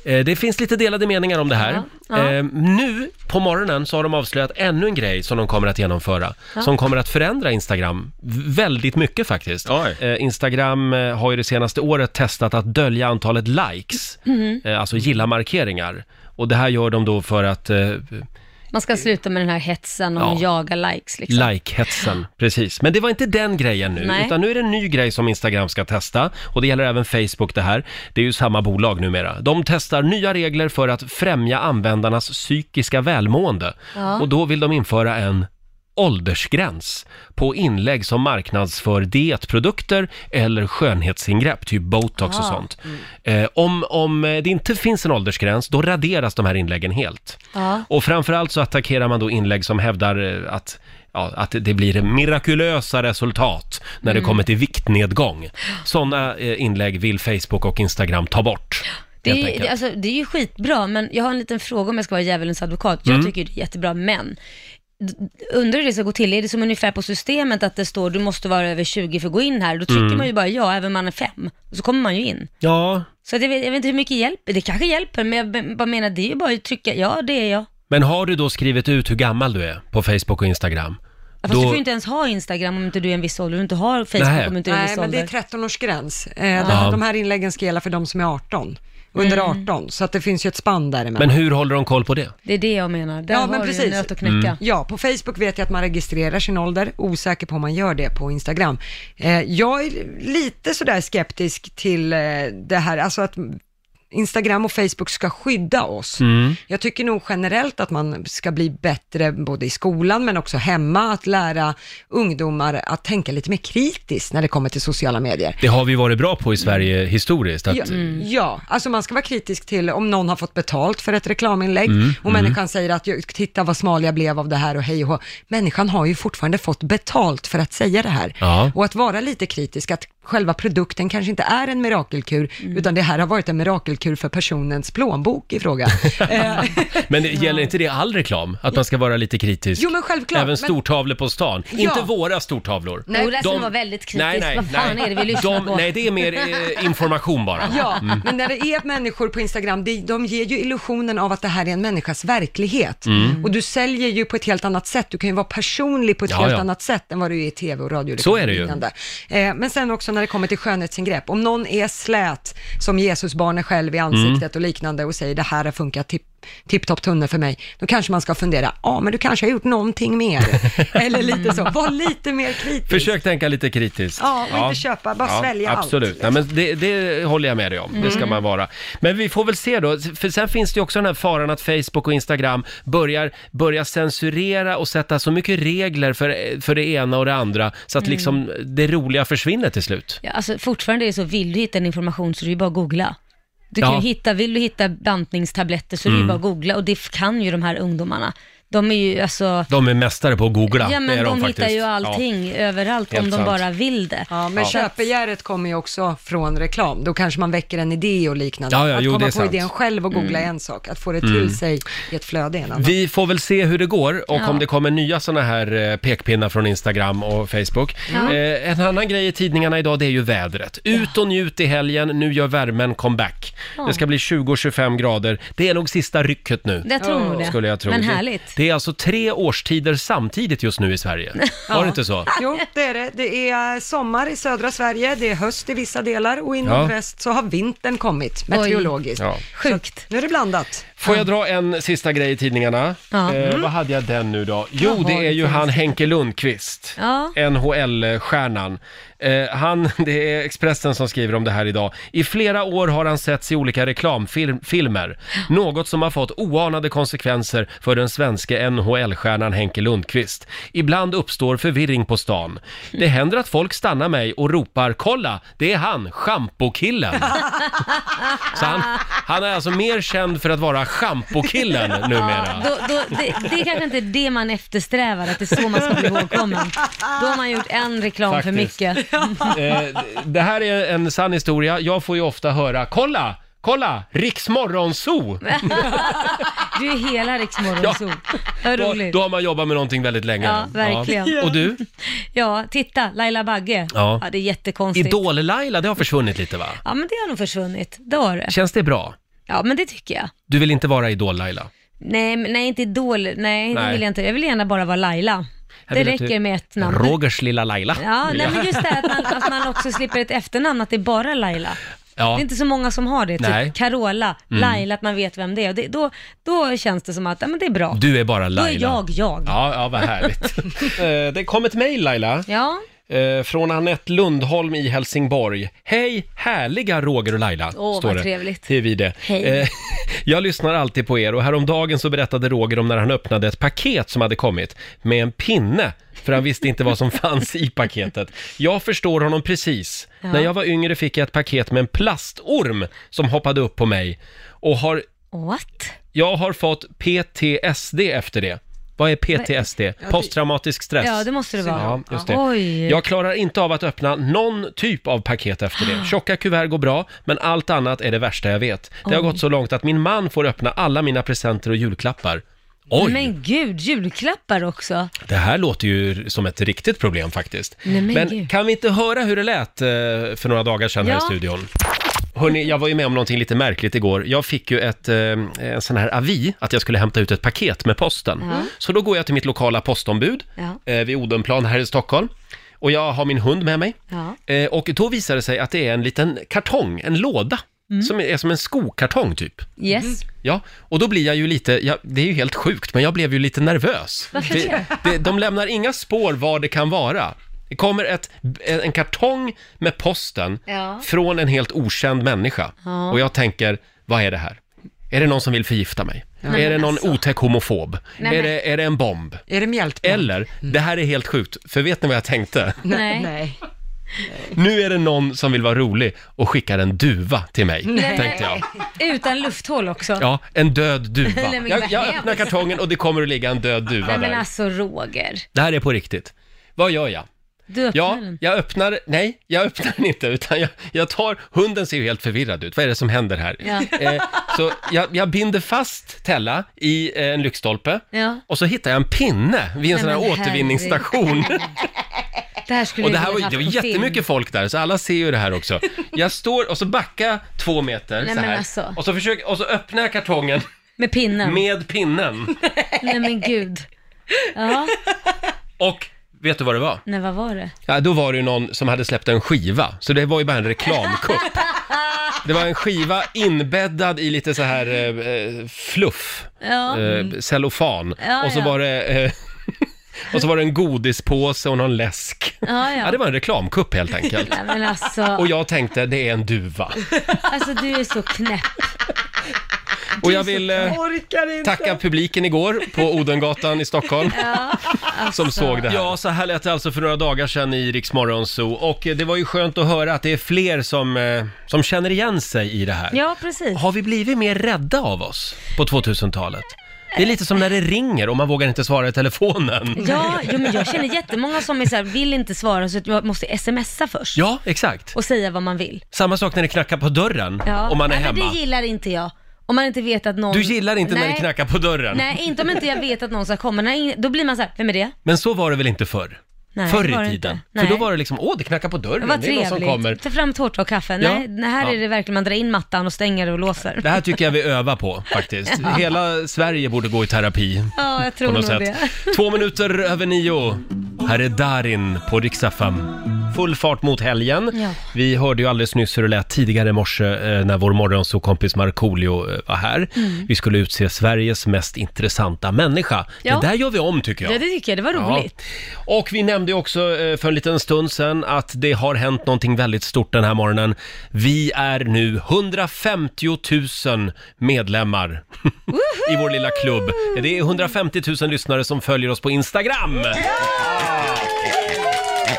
S1: Eh, det finns lite delade meningar om det här.
S2: Ja. Ja.
S1: Eh, nu på morgonen så har de avslöjat ännu en grej som de kommer att genomföra.
S2: Ja.
S1: Som kommer att förändra Instagram v- väldigt mycket faktiskt. Eh, Instagram eh, har ju det senaste året testat att dölja antalet likes,
S2: Mhm.
S1: eh, alltså gilla-markeringar. Och det här gör de då för att eh,
S2: Man ska sluta med den här hetsen och
S1: Ja.
S2: jaga likes liksom.
S1: Like-hetsen, precis. Men det var inte den grejen nu,
S2: Nej.
S1: utan nu är det en ny grej som Instagram ska testa. Och det gäller även Facebook det här. Det är ju samma bolag numera. De testar nya regler för att främja användarnas psykiska välmående.
S16: Ja.
S1: Och då vill de införa en åldersgräns på inlägg som marknadsför dietprodukter eller skönhetsingrepp, typ botox och
S16: Ah.
S1: sånt.
S2: Mm.
S1: Eh, om, om eh, det inte finns en åldersgräns, då raderas de här inläggen helt.
S16: Ja.
S1: Och framförallt så attackerar man då inlägg som hävdar eh, att, ja, att det blir mirakulösa resultat när det
S2: Mm.
S1: kommer till viktnedgång. Sådana eh, inlägg vill Facebook och Instagram ta bort.
S2: Det
S1: helt
S2: är,
S1: enkelt.
S2: det, alltså, det är ju skitbra, men jag har en liten fråga om jag ska vara djävulens advokat. Jag
S1: Mm.
S2: tycker ju det är jättebra, men d- undrar hur det ska gå till. Är det som ungefär på systemet att det står du måste vara över 20 för att gå in här? Då trycker
S1: Mm.
S2: man ju bara ja, även om man är fem. Och så kommer man ju in.
S1: Ja,
S2: Så att jag, vet, jag vet inte hur mycket hjälp, det kanske hjälper, men jag be- bara menar det är ju bara att trycka ja, det är jag.
S1: men har du då skrivit ut hur gammal du är på Facebook och Instagram?
S2: Ja, Fast du får ju inte ens ha Instagram om inte du är en viss ålder, du inte har Facebook
S1: Nej.
S2: om inte du är en
S3: Nej,
S2: viss
S3: men det
S2: ålder.
S3: är 13-årsgräns. Eh, de-
S1: Ja.
S3: De här inläggen ska gälla för de som är 18, under 18, så att det finns ju ett spann däremellan.
S1: Men hur håller de koll på det?
S2: Mm. Det är det jag menar. Där
S3: ja,
S2: har
S3: men
S2: du ju en
S3: precis.
S2: nöt att knäcka.
S1: Mm.
S3: Ja, på Facebook vet jag att man registrerar sin ålder, osäker på om man gör det på Instagram. Eh, jag är lite sådär skeptisk till eh, det här, alltså att Instagram och Facebook ska skydda oss.
S16: Mm.
S3: Jag tycker nog generellt att man ska bli bättre både i skolan men också hemma, att lära ungdomar att tänka lite mer kritiskt när det kommer till sociala medier.
S1: Det har vi varit bra på i Sverige historiskt. Att,
S3: Ja, ja, alltså man ska vara kritisk till om någon har fått betalt för ett reklaminlägg
S1: Mm,
S3: och
S1: mm.
S3: människan säger att "Jag- titta vad smal jag blev av det här och hej och hå." Människan har ju fortfarande fått betalt för att säga det här.
S1: Ja.
S3: Och att vara lite kritisk, att själva produkten kanske inte är en mirakelkur, utan det här har varit en mirakelkur för personens plånbok i fråga.
S1: Men det gäller inte det all reklam? Att man ska vara lite kritisk?
S3: Jo, men självklart, men-
S1: Även stortavlor på stan.
S3: Ja.
S1: Inte våra stortavlor.
S2: Nej, Jo, där ska man vara väldigt kritisk. Vad fan är det vi lyssnar
S1: de,
S2: på?
S1: Nej, det är mer eh, information bara.
S3: Ja,
S1: Mm.
S3: men när det är människor på Instagram, de, de ger ju illusionen av att det här är en människas verklighet.
S1: Mm.
S3: Och du säljer ju på ett helt annat sätt, du kan ju vara personlig på ett
S1: Ja,
S3: helt
S1: ja.
S3: annat sätt än vad du är i tv och radio.
S1: Så är det ju.
S3: liknande. Eh, men sen också när det kommer till skönhetsingrepp, om någon är slät som Jesusbarnet själv i
S1: Mm.
S3: ansiktet och liknande och säger det här har funkat tipp tipptopp tunnel för mig, då kanske man ska fundera, ja men du kanske har gjort någonting mer. Eller lite så, var lite mer kritisk.
S1: Försök tänka lite kritiskt.
S3: Ja, och inte köpa, bara svälja allt,
S1: Absolut, Nej, men det, det håller jag med dig om. Det ska
S3: Mm.
S1: man vara. Men vi får väl se då, för sen finns det ju också den här faran att Facebook och Instagram börjar, börjar censurera och sätta så mycket regler för, för det ena och det andra så att
S2: Mm.
S1: liksom det roliga försvinner till slut.
S2: Ja, alltså, fortfarande är det så, vill du hitta en information så är det ju bara att googla. Du kan
S1: Ja.
S2: ju hitta, vill du hitta bantningstabletter så är det ju
S1: Mm.
S2: bara att googla och det kan ju de här ungdomarna. De är ju alltså,
S1: De är mästare på att googla,
S2: ja
S1: det
S2: men de,
S1: är de, faktiskt.
S2: hittar ju
S1: Ja.
S2: allting överallt
S1: Helt
S2: om de
S1: sant.
S2: bara vill det.
S3: Ja, men
S1: Ja.
S3: köpbegäret kommer ju också från reklam. Då kanske man väcker en idé och liknande.
S1: Ja, ja,
S3: att
S1: jo, det
S3: komma
S1: är
S3: på
S1: sant.
S3: idén själv och googla
S1: Mm.
S3: är en sak. Att få det till
S1: Mm.
S3: sig i ett flöde är en annan.
S1: Vi får väl se hur det går och
S3: Ja.
S1: om det kommer nya såna här eh, pekpinnar från Instagram och Facebook.
S16: Ja.
S1: Eh, en annan grej i tidningarna idag det är ju vädret. Ut och njut i helgen, nu gör värmen comeback.
S2: Ja.
S1: Det ska bli 20-25 grader. Det är nog sista rycket nu.
S2: Jag tror nog det.
S1: Skulle jag tro.
S2: Men härligt.
S1: Det är alltså tre årstider samtidigt just nu i Sverige. Var det inte så?
S3: Jo, det är det. Det är sommar i södra Sverige, det är höst i vissa delar och i
S1: Ja.
S3: nordväst så har vintern kommit meteorologiskt.
S1: Ja.
S2: Sjukt.
S3: Nu är det blandat.
S1: Får jag dra en sista grej i tidningarna?
S3: Ja.
S1: Eh,
S3: Mm.
S1: vad hade jag den nu då? Jo,
S2: Jaha,
S1: det är ju
S2: det
S1: han
S2: finns-
S1: Henke Lundqvist.
S2: Ja.
S1: NHL-stjärnan. Eh, han, det är Expressen som skriver om det här idag. I flera år har han setts i olika reklamfilmer. Något som har fått oanade konsekvenser för den svenska NHL-stjärnan Henke Lundqvist. Ibland uppstår förvirring på stan. Det händer att folk stannar mig och ropar “Kolla, det är han, schampokillen!” Så han, han är alltså mer känd för att vara schampokillen numera.
S2: Då, då, det, det är kanske inte det man eftersträvar, att det är så man ska bli ihågkommen. Då har man gjort en reklam för
S1: Faktiskt.
S2: mycket.
S1: Eh, det här är en sann historia. Jag får ju ofta höra “Kolla! Kolla! Riks Morgonzoo!”
S2: Du är hela Rix Morgonzoo. Vad
S1: då,
S2: roligt.
S1: då har man jobbat med någonting väldigt länge.
S2: Ja, verkligen.
S1: Och du?
S2: Ja, titta, Laila Bagge.
S1: Ja.
S2: Ja, det är jättekonstigt.
S1: Idol-Laila, det har försvunnit lite va?
S2: Ja, men det har nog försvunnit. Det har det.
S1: Känns det bra?
S2: Ja, men det tycker jag.
S1: Du vill inte vara Idol-Laila?
S2: Nej, men- nej inte Idol. Nej, det
S1: Nej.
S2: vill jag inte. Jag vill gärna bara vara Laila.
S1: Jag typ
S2: Det
S1: vill att du-
S2: räcker med ett namn.
S1: Rogers lilla Laila.
S2: Ja,
S1: vill
S2: nej,
S1: jag.
S2: men just det här att man, att man också slipper ett efternamn, att det är bara Laila.
S1: Ja.
S2: Det är inte så många som har det. Typ
S1: Nej.
S2: Carola,
S1: Mm.
S2: Laila, att man vet vem det är. Och det, då, då känns det som att ja, men det är bra.
S1: Du är bara Laila.
S2: Då är jag jag.
S1: Ja, ja vad härligt. Eh, det kom ett mejl Laila.
S2: Ja.
S1: Eh, Från Anette Lundholm i Helsingborg. Hej härliga Roger och Laila,
S2: Åh,
S1: står
S2: vad
S1: det.
S2: trevligt.
S1: Det är vi det.
S2: Hej.
S1: Eh, Jag lyssnar alltid på er och häromdagen så berättade Roger om när han öppnade ett paket som hade kommit med en pinne för han visste inte vad som fanns i paketet. Jag förstår honom precis.
S15: Ja.
S1: När jag var yngre fick jag ett paket med en plastorm som hoppade upp på mig och har...
S2: What?
S1: Jag har fått PTSD efter det. Vad är PTSD?
S2: det-
S1: Posttraumatisk stress.
S2: Ja, det måste det vara.
S1: Ja, just det.
S2: Oj.
S1: Jag klarar inte av att öppna någon typ av paket efter det. Tjocka kuvert går bra, men allt annat är det värsta jag vet. Det
S2: Oj.
S1: har gått så långt att min man får öppna alla mina presenter och julklappar. Oj,
S2: Men gud, julklappar också.
S1: det här låter ju som ett riktigt problem faktiskt.
S2: Nej, men
S1: men
S2: gud.
S1: kan vi inte höra hur det lät eh, för några dagar sedan här i
S2: Ja.
S1: studion? Hörni, jag var ju med om någonting lite märkligt igår. Jag fick ju ett, eh, en sån här avi att jag skulle hämta ut ett paket med posten.
S15: Ja.
S1: Så då går jag till mitt lokala postombud
S15: Ja.
S1: eh, vid Odenplan här i Stockholm. Och jag har min hund med mig.
S2: Ja.
S1: Eh, och då visar det sig att det är en liten kartong, en låda.
S2: Mm.
S1: Som är som en skokartong typ.
S2: Yes.
S1: Ja, och då blir jag ju lite, ja, det är ju helt sjukt, men jag blev ju lite nervös.
S2: Varför
S1: det?
S2: det?
S1: Det, de lämnar inga spår var det kan vara. Det kommer ett, en en kartong med posten
S2: Ja.
S1: från en helt okänd människa.
S2: Ja.
S1: Och jag tänker, vad är det här? Är det någon som vill förgifta mig?
S3: Ja.
S1: Är det
S3: Men
S1: någon
S3: alltså.
S1: otäck homofob?
S3: Nej,
S1: är,
S3: men-
S1: det, är det en bomb?
S3: Är det mjältbrand?
S1: Eller,
S2: Mm.
S1: det här är helt sjukt, för vet ni vad jag tänkte?
S3: Nej. Nej.
S1: Nu är det någon som vill vara rolig och skickar en duva till mig,
S2: Nej.
S1: tänkte jag.
S2: Utan lufthåll också.
S1: Ja, en död
S2: Nej,
S1: duva.
S2: men
S1: Jag,
S2: vad
S1: jag
S2: hemskt.
S1: öppnar kartongen och det kommer att ligga en död duva
S2: Nej, men
S1: där.
S2: alltså Roger.
S1: Det här är på riktigt. Vad gör jag?
S2: Du öppnar
S1: Ja,
S2: den.
S1: jag öppnar, nej, jag öppnar den inte, utan jag, jag tar, hunden ser ju helt förvirrad ut, vad är det som händer här?
S2: Ja.
S1: Eh, så jag, jag binder fast Tella i eh, en lyktstolpe,
S2: Ja.
S1: och så hittar jag en pinne vid en
S2: Nej,
S1: sån här
S2: men herregud.
S1: återvinningsstation.
S2: Det här skulle
S1: Och
S2: vi
S1: det här
S2: ha
S1: var,
S2: haft
S1: det var
S2: på film.
S1: jättemycket folk där, så alla ser ju det här också. Jag står, och så backar jag två meter
S2: Nej,
S1: så
S2: men
S1: här,
S2: alltså.
S1: och, så försöker, och så öppnar jag kartongen
S2: Med pinnen.
S1: med pinnen.
S2: Nej men gud. Ja,
S1: Och vet du vad det var?
S2: nej vad var det?
S1: Ja, då var det ju någon som hade släppt en skiva, så det var ju bara en reklamkupp. Det var en skiva inbäddad i lite så här eh, eh, fluff,
S2: Ja. Mm.
S1: eh, cellofan.
S2: Ja,
S1: och, så
S2: ja.
S1: var det, eh, och så var det en godispåse och någon läsk.
S2: Ja, ja.
S1: Ja, det var en reklamkupp helt enkelt.
S2: Nej men alltså.
S1: Och jag tänkte, det är en duva.
S2: Alltså du är så knäpp.
S1: Och jag vill eh, tacka publiken igår på Odengatan i Stockholm.
S2: Ja,
S1: Som såg det här. Ja, så här lät det alltså för några dagar sedan i Rix Morgon Zoo. Och eh, det var ju skönt att höra att det är fler som, eh, som känner igen sig i det här.
S2: Ja precis.
S1: Har vi blivit mer rädda av oss på 2000-talet? Det är lite som när det ringer och man vågar inte svara i telefonen.
S2: Ja, jo, men jag känner jättemånga som är så här, vill inte svara så att jag måste smsa först.
S1: Ja, exakt.
S2: Och säga vad man vill.
S1: Samma sak när det knackar på dörren
S2: Ja.
S1: om man är
S2: Nej,
S1: hemma.
S2: Men det gillar inte jag. Om man inte vet att någon...
S1: Du gillar inte när det
S2: Nej.
S1: knackar på dörren.
S2: Nej, inte om inte jag vet att någon ska komma. Nej, då blir man så här, vem är det?
S1: Men så var det väl inte förr?
S2: Nej,
S1: förr
S2: det var
S1: i
S2: det
S1: tiden.
S2: inte.
S1: För då
S2: Nej.
S1: var det liksom, åh det knackar på dörren,
S2: Vad
S1: det är någon som kommer.
S2: trevligt. Ta fram tårta och kaffe.
S1: Ja.
S2: Nej, det här
S1: Ja.
S2: är det verkligen man drar in mattan och stänger och låser.
S1: Det här tycker jag vi övar på faktiskt.
S2: Ja.
S1: Hela Sverige borde gå i terapi.
S2: Ja, jag tror
S1: på
S2: nog
S1: något sätt.
S2: det.
S1: Två minuter över nio. Här är Darin på riksdag Full fart mot helgen.
S2: Ja.
S1: Vi hörde ju alldeles nyss hur det lät tidigare i morse eh, när vår morgonsåkompis Markoolio eh, var här.
S2: Mm.
S1: Vi skulle utse Sveriges mest intressanta människa.
S2: Ja.
S1: Det där gör vi om tycker
S2: Ja.
S1: jag.
S2: det tycker jag. Det var
S1: Ja.
S2: roligt.
S1: Och vi nämnde ju också eh, för en liten stund sedan att det har hänt någonting väldigt stort den här morgonen. Vi är nu 150 000 medlemmar i vår lilla klubb. Det är 150 000 lyssnare som följer oss på Instagram.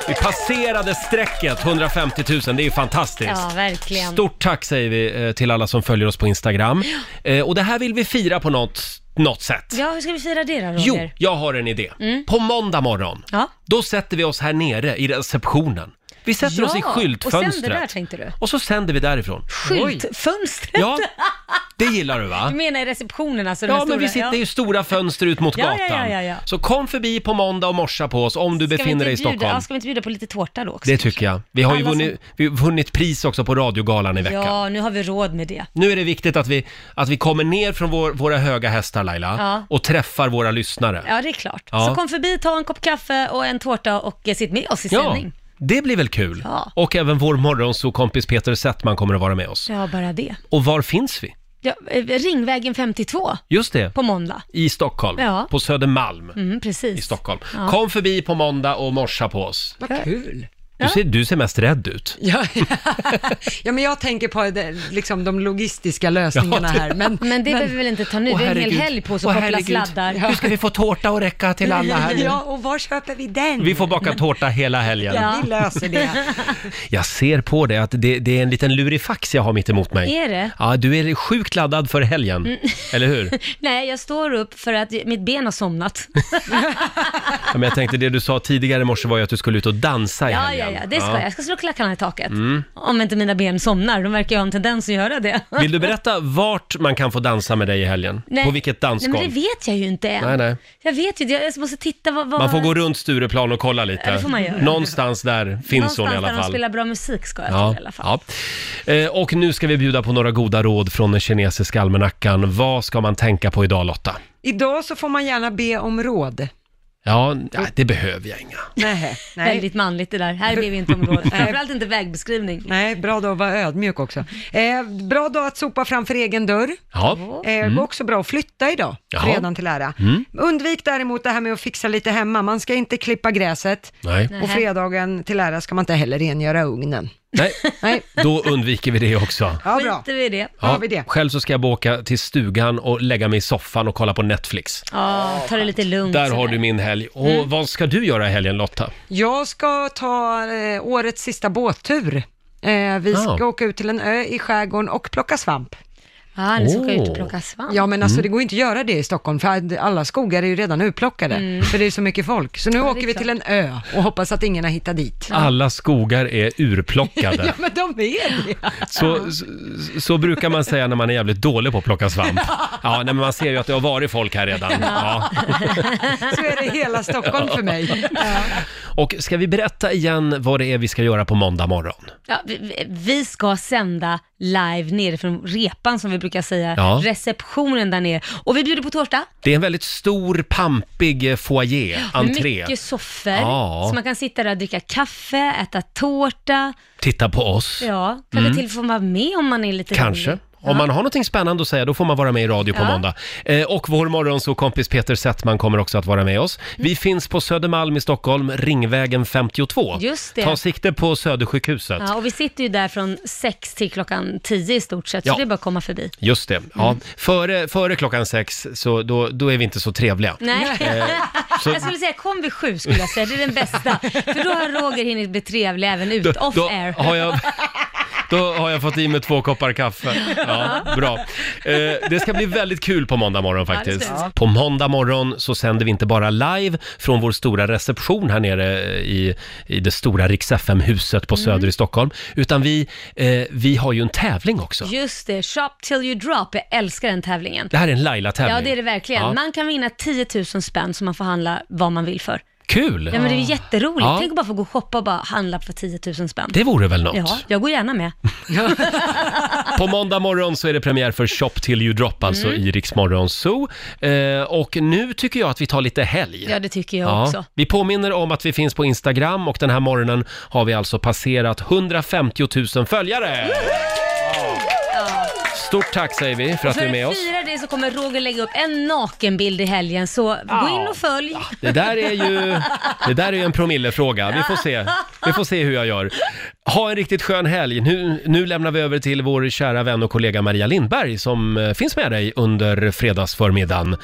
S1: Vi passerade strecket 150 000, det är ju fantastiskt.
S2: Ja, verkligen.
S1: Stort tack säger vi eh, till alla som följer oss på Instagram. Eh, Och det här vill vi fira på något, något sätt.
S2: Ja, hur ska vi fira det då,
S1: Jo,
S2: Roger?
S1: jag har en idé.
S2: Mm.
S1: På måndag morgon,
S2: Ja.
S1: då sätter vi oss här nere i receptionen. Vi sätter oss i
S2: Och sen det där
S1: skyltfönstret.
S2: tänkte du.
S1: Och så sänder vi därifrån.
S2: Skyltfönstret?
S1: Ja, det gillar du va?
S2: Du menar i receptionen alltså? den
S1: Ja,
S2: här
S1: men vi
S2: stora-
S1: sitter ju i stora fönster ut mot
S2: Ja, ja,
S1: gatan.
S2: ja, ja, ja.
S1: Så kom förbi på måndag och morsa på oss om du
S2: Ska vi inte
S1: befinner dig i
S2: bjuda-
S1: Stockholm.
S2: Ja, ska vi inte bjuda på lite tårta då också?
S1: Det tycker jag. Vi har ju
S2: Alla som-
S1: vunnit, vi har vunnit pris också på radiogalan i veckan.
S2: Ja, nu har vi råd med det.
S1: Nu är det viktigt att vi, att vi kommer ner från vår, våra höga hästar Laila
S2: Ja.
S1: och träffar våra lyssnare.
S2: Ja, det är klart.
S1: Ja.
S2: Så kom förbi, ta en kopp kaffe och en tårta och eh, sitt med oss i sändning.
S1: Det blir väl kul?
S2: Ja.
S1: Och även vår morgonsokompis Peter Settman kommer att vara med oss.
S2: Ja, bara det.
S1: Och var finns vi?
S2: Ja, eh, Ringvägen 52
S1: Just det,
S2: på måndag.
S1: i Stockholm.
S2: Ja.
S1: På Södermalm
S2: Mm,
S1: i
S2: precis.
S1: Stockholm.
S2: Ja.
S1: Kom förbi på måndag och morsa på oss.
S3: Vad kul.
S1: Du ser, du ser mest rädd ut.
S3: Ja, ja, men jag tänker på det, liksom de logistiska lösningarna
S1: Ja, det-
S3: här. Men,
S2: Men det behöver vi väl inte ta nu.
S3: Åh,
S2: Vi har en hel
S3: herregud.
S2: helg på oss att
S3: Åh,
S2: koppla
S3: herregud.
S2: sladdar.
S3: Ja. Hur ska
S1: vi få tårta att räcka till alla här nu?
S3: Ja, och var köper vi den?
S1: Vi får baka tårta hela helgen.
S3: Ja. Vi löser det.
S1: Jag ser på det att det, det är en liten lurifax jag har mitt emot mig.
S2: Är det?
S1: Ja, du är sjukt laddad för helgen,
S2: Mm.
S1: eller hur?
S2: Nej, jag står upp för att mitt ben har somnat.
S1: Ja, Men jag tänkte det du sa tidigare i morse var ju att du skulle ut och dansa i
S2: Ja, ja,
S1: helgen.
S2: ja, det ska jag. Jag ska slå klackarna i taket.
S1: Mm.
S2: Om inte mina ben somnar, de verkar ju ha en tendens att göra det.
S1: Vill du berätta vart man kan få dansa med dig i helgen? På vilket dansgolv?
S2: Nej, men det vet jag ju inte än.
S1: Nej, nej.
S2: Jag vet ju det. Jag måste titta vad... vad...
S1: Man får gå runt Stureplan och kolla lite.
S2: Ja, det får man göra.
S1: Någonstans där finns hon i alla
S2: Någonstans där de
S1: fall.
S2: spelar bra musik ska jag tro i alla fall.
S1: Ja. Eh, Och nu ska vi bjuda på några goda råd från den kinesiska almanackan. Vad ska man tänka på idag Lotta?
S3: Idag så får man gärna be om råd.
S1: Ja, nej, det behöver jag inga.
S3: Nej, nej.
S2: Väldigt manligt det där. Här blir vi inte området. Framförallt inte vägbeskrivning.
S3: Nej, bra dag att vara ödmjuk också. Eh, bra dag att sopa framför egen dörr.
S1: Ja.
S3: Eh,
S1: Mm.
S3: Går också bra att flytta idag,
S1: Jaha.
S3: redan till ära.
S1: Mm.
S3: Undvik däremot det här med att fixa lite hemma. Man ska inte klippa gräset.
S1: Nej.
S3: Och
S1: Nähä.
S3: fredagen till ära ska man inte heller rengöra ugnen.
S1: Nej,
S3: Nej.
S1: då undviker vi det också.
S3: Ja, bra.
S2: Skiter vi i det.
S3: Då har vi det.
S1: Själv så ska jag bara åka till stugan och lägga mig i soffan och kolla på Netflix.
S2: Ja, ta det lite lugnt.
S1: Där
S2: sådär.
S1: har du min helg. Och
S2: Mm.
S1: vad ska du göra i helgen Lotta?
S3: Jag ska ta eh, årets sista båttur. Eh, vi
S1: Ja.
S3: ska åka ut till en ö i skärgården och plocka svamp.
S2: Ja,
S1: ni ska åka ut och plocka
S2: svamp.
S3: Ja, men alltså
S1: Mm.
S3: det går inte att göra det i Stockholm, för alla skogar är ju redan urplockade,
S2: Mm.
S3: för det är så mycket folk. Så nu
S2: det är
S3: åker vi
S2: klart.
S3: till en ö och hoppas att ingen har hittat dit.
S1: Alla skogar är urplockade.
S3: ja, men de är det.
S1: Så, så, så brukar man säga när man är jävligt dålig på att plocka svamp. Ja, nej, men man ser ju att det har varit folk här redan. Ja.
S3: Så är det hela Stockholm för mig.
S1: Och ska vi berätta igen vad det är vi ska göra på måndag morgon?
S2: Ja, vi- vi, vi ska sända live nere från repan som vi brukar säga,
S1: Ja.
S2: receptionen där nere. Och vi bjuder på tårta,
S1: Det är en väldigt stor, pampig eh, foyer, entré.
S2: mycket soffor,
S1: Ja.
S2: så man kan sitta där och dricka kaffe, äta tårta.
S1: Titta på oss.
S2: Ja, kanske
S1: Mm.
S2: till får vara med om man är lite
S1: Kanske.
S2: rolig.
S1: Om man har någonting spännande att säga, då får man vara med i radio på
S2: Ja.
S1: måndag. Eh, och vår morgonsåkompis Peter Settman kommer också att vara med oss.
S2: Mm.
S1: Vi finns på Södermalm i Stockholm, Ringvägen 52.
S2: Just det.
S1: Ta sikte på Södersjukhuset.
S2: Ja, och vi sitter ju där från sex till klockan tio i stort sett,
S1: Ja.
S2: så det är bara att komma förbi.
S1: Just det. Ja.
S2: Mm.
S1: Före, före klockan sex, så då, då är vi inte så trevliga.
S2: Nej,
S1: Eh, så-
S2: jag skulle säga kom vid sju skulle jag säga, det är den bästa. För då har Roger hinnit bli trevlig även ut, off
S1: då,
S2: air.
S1: har jag, då har jag fått i mig två koppar kaffe. Ja, bra. Eh, det ska bli väldigt kul på måndag morgon
S15: Ja, det ska
S1: faktiskt.
S15: det.
S1: På måndag morgon så sänder vi inte bara live från vår stora reception här nere eh, i, i det stora Rix FM-huset på
S2: Mm.
S1: Söder i Stockholm, utan vi, eh, vi har ju en tävling också.
S2: Just det, shop till you drop. Jag älskar den tävlingen.
S1: Det här är en Laila-tävling.
S2: Ja, det är det verkligen.
S1: Ja.
S2: Man kan vinna 10 000 spänn som man får handla vad man vill för.
S1: Kul!
S2: Ja, men det är ju jätteroligt.
S1: Ja.
S2: Tänk att bara få gå och shoppa och bara handla för 10 000 spänn.
S1: Det vore väl något?
S2: Ja, jag går gärna med.
S1: På måndag morgon så är det premiär för Shop till you drop, alltså
S2: Mm.
S1: i Rix Morgon Zoo. Eh, och nu tycker jag att vi tar lite helg.
S2: Ja, det tycker jag
S1: Ja.
S2: också.
S1: Vi påminner om att vi finns på Instagram och den här morgonen har vi alltså passerat 150 000 följare. Stort tack säger vi för
S2: Och
S1: att ni är med
S2: för att
S1: oss.
S2: fira det så kommer Roger lägga upp en nakenbild i helgen, så gå in och följ.
S1: Det där är ju, det där är ju en promillefråga. Vi får se. Vi får se hur jag gör. Ha en riktigt skön helg. Nu, nu lämnar vi över till vår kära vän och kollega Maria Lindberg som eh, finns med dig under fredagsförmiddagen.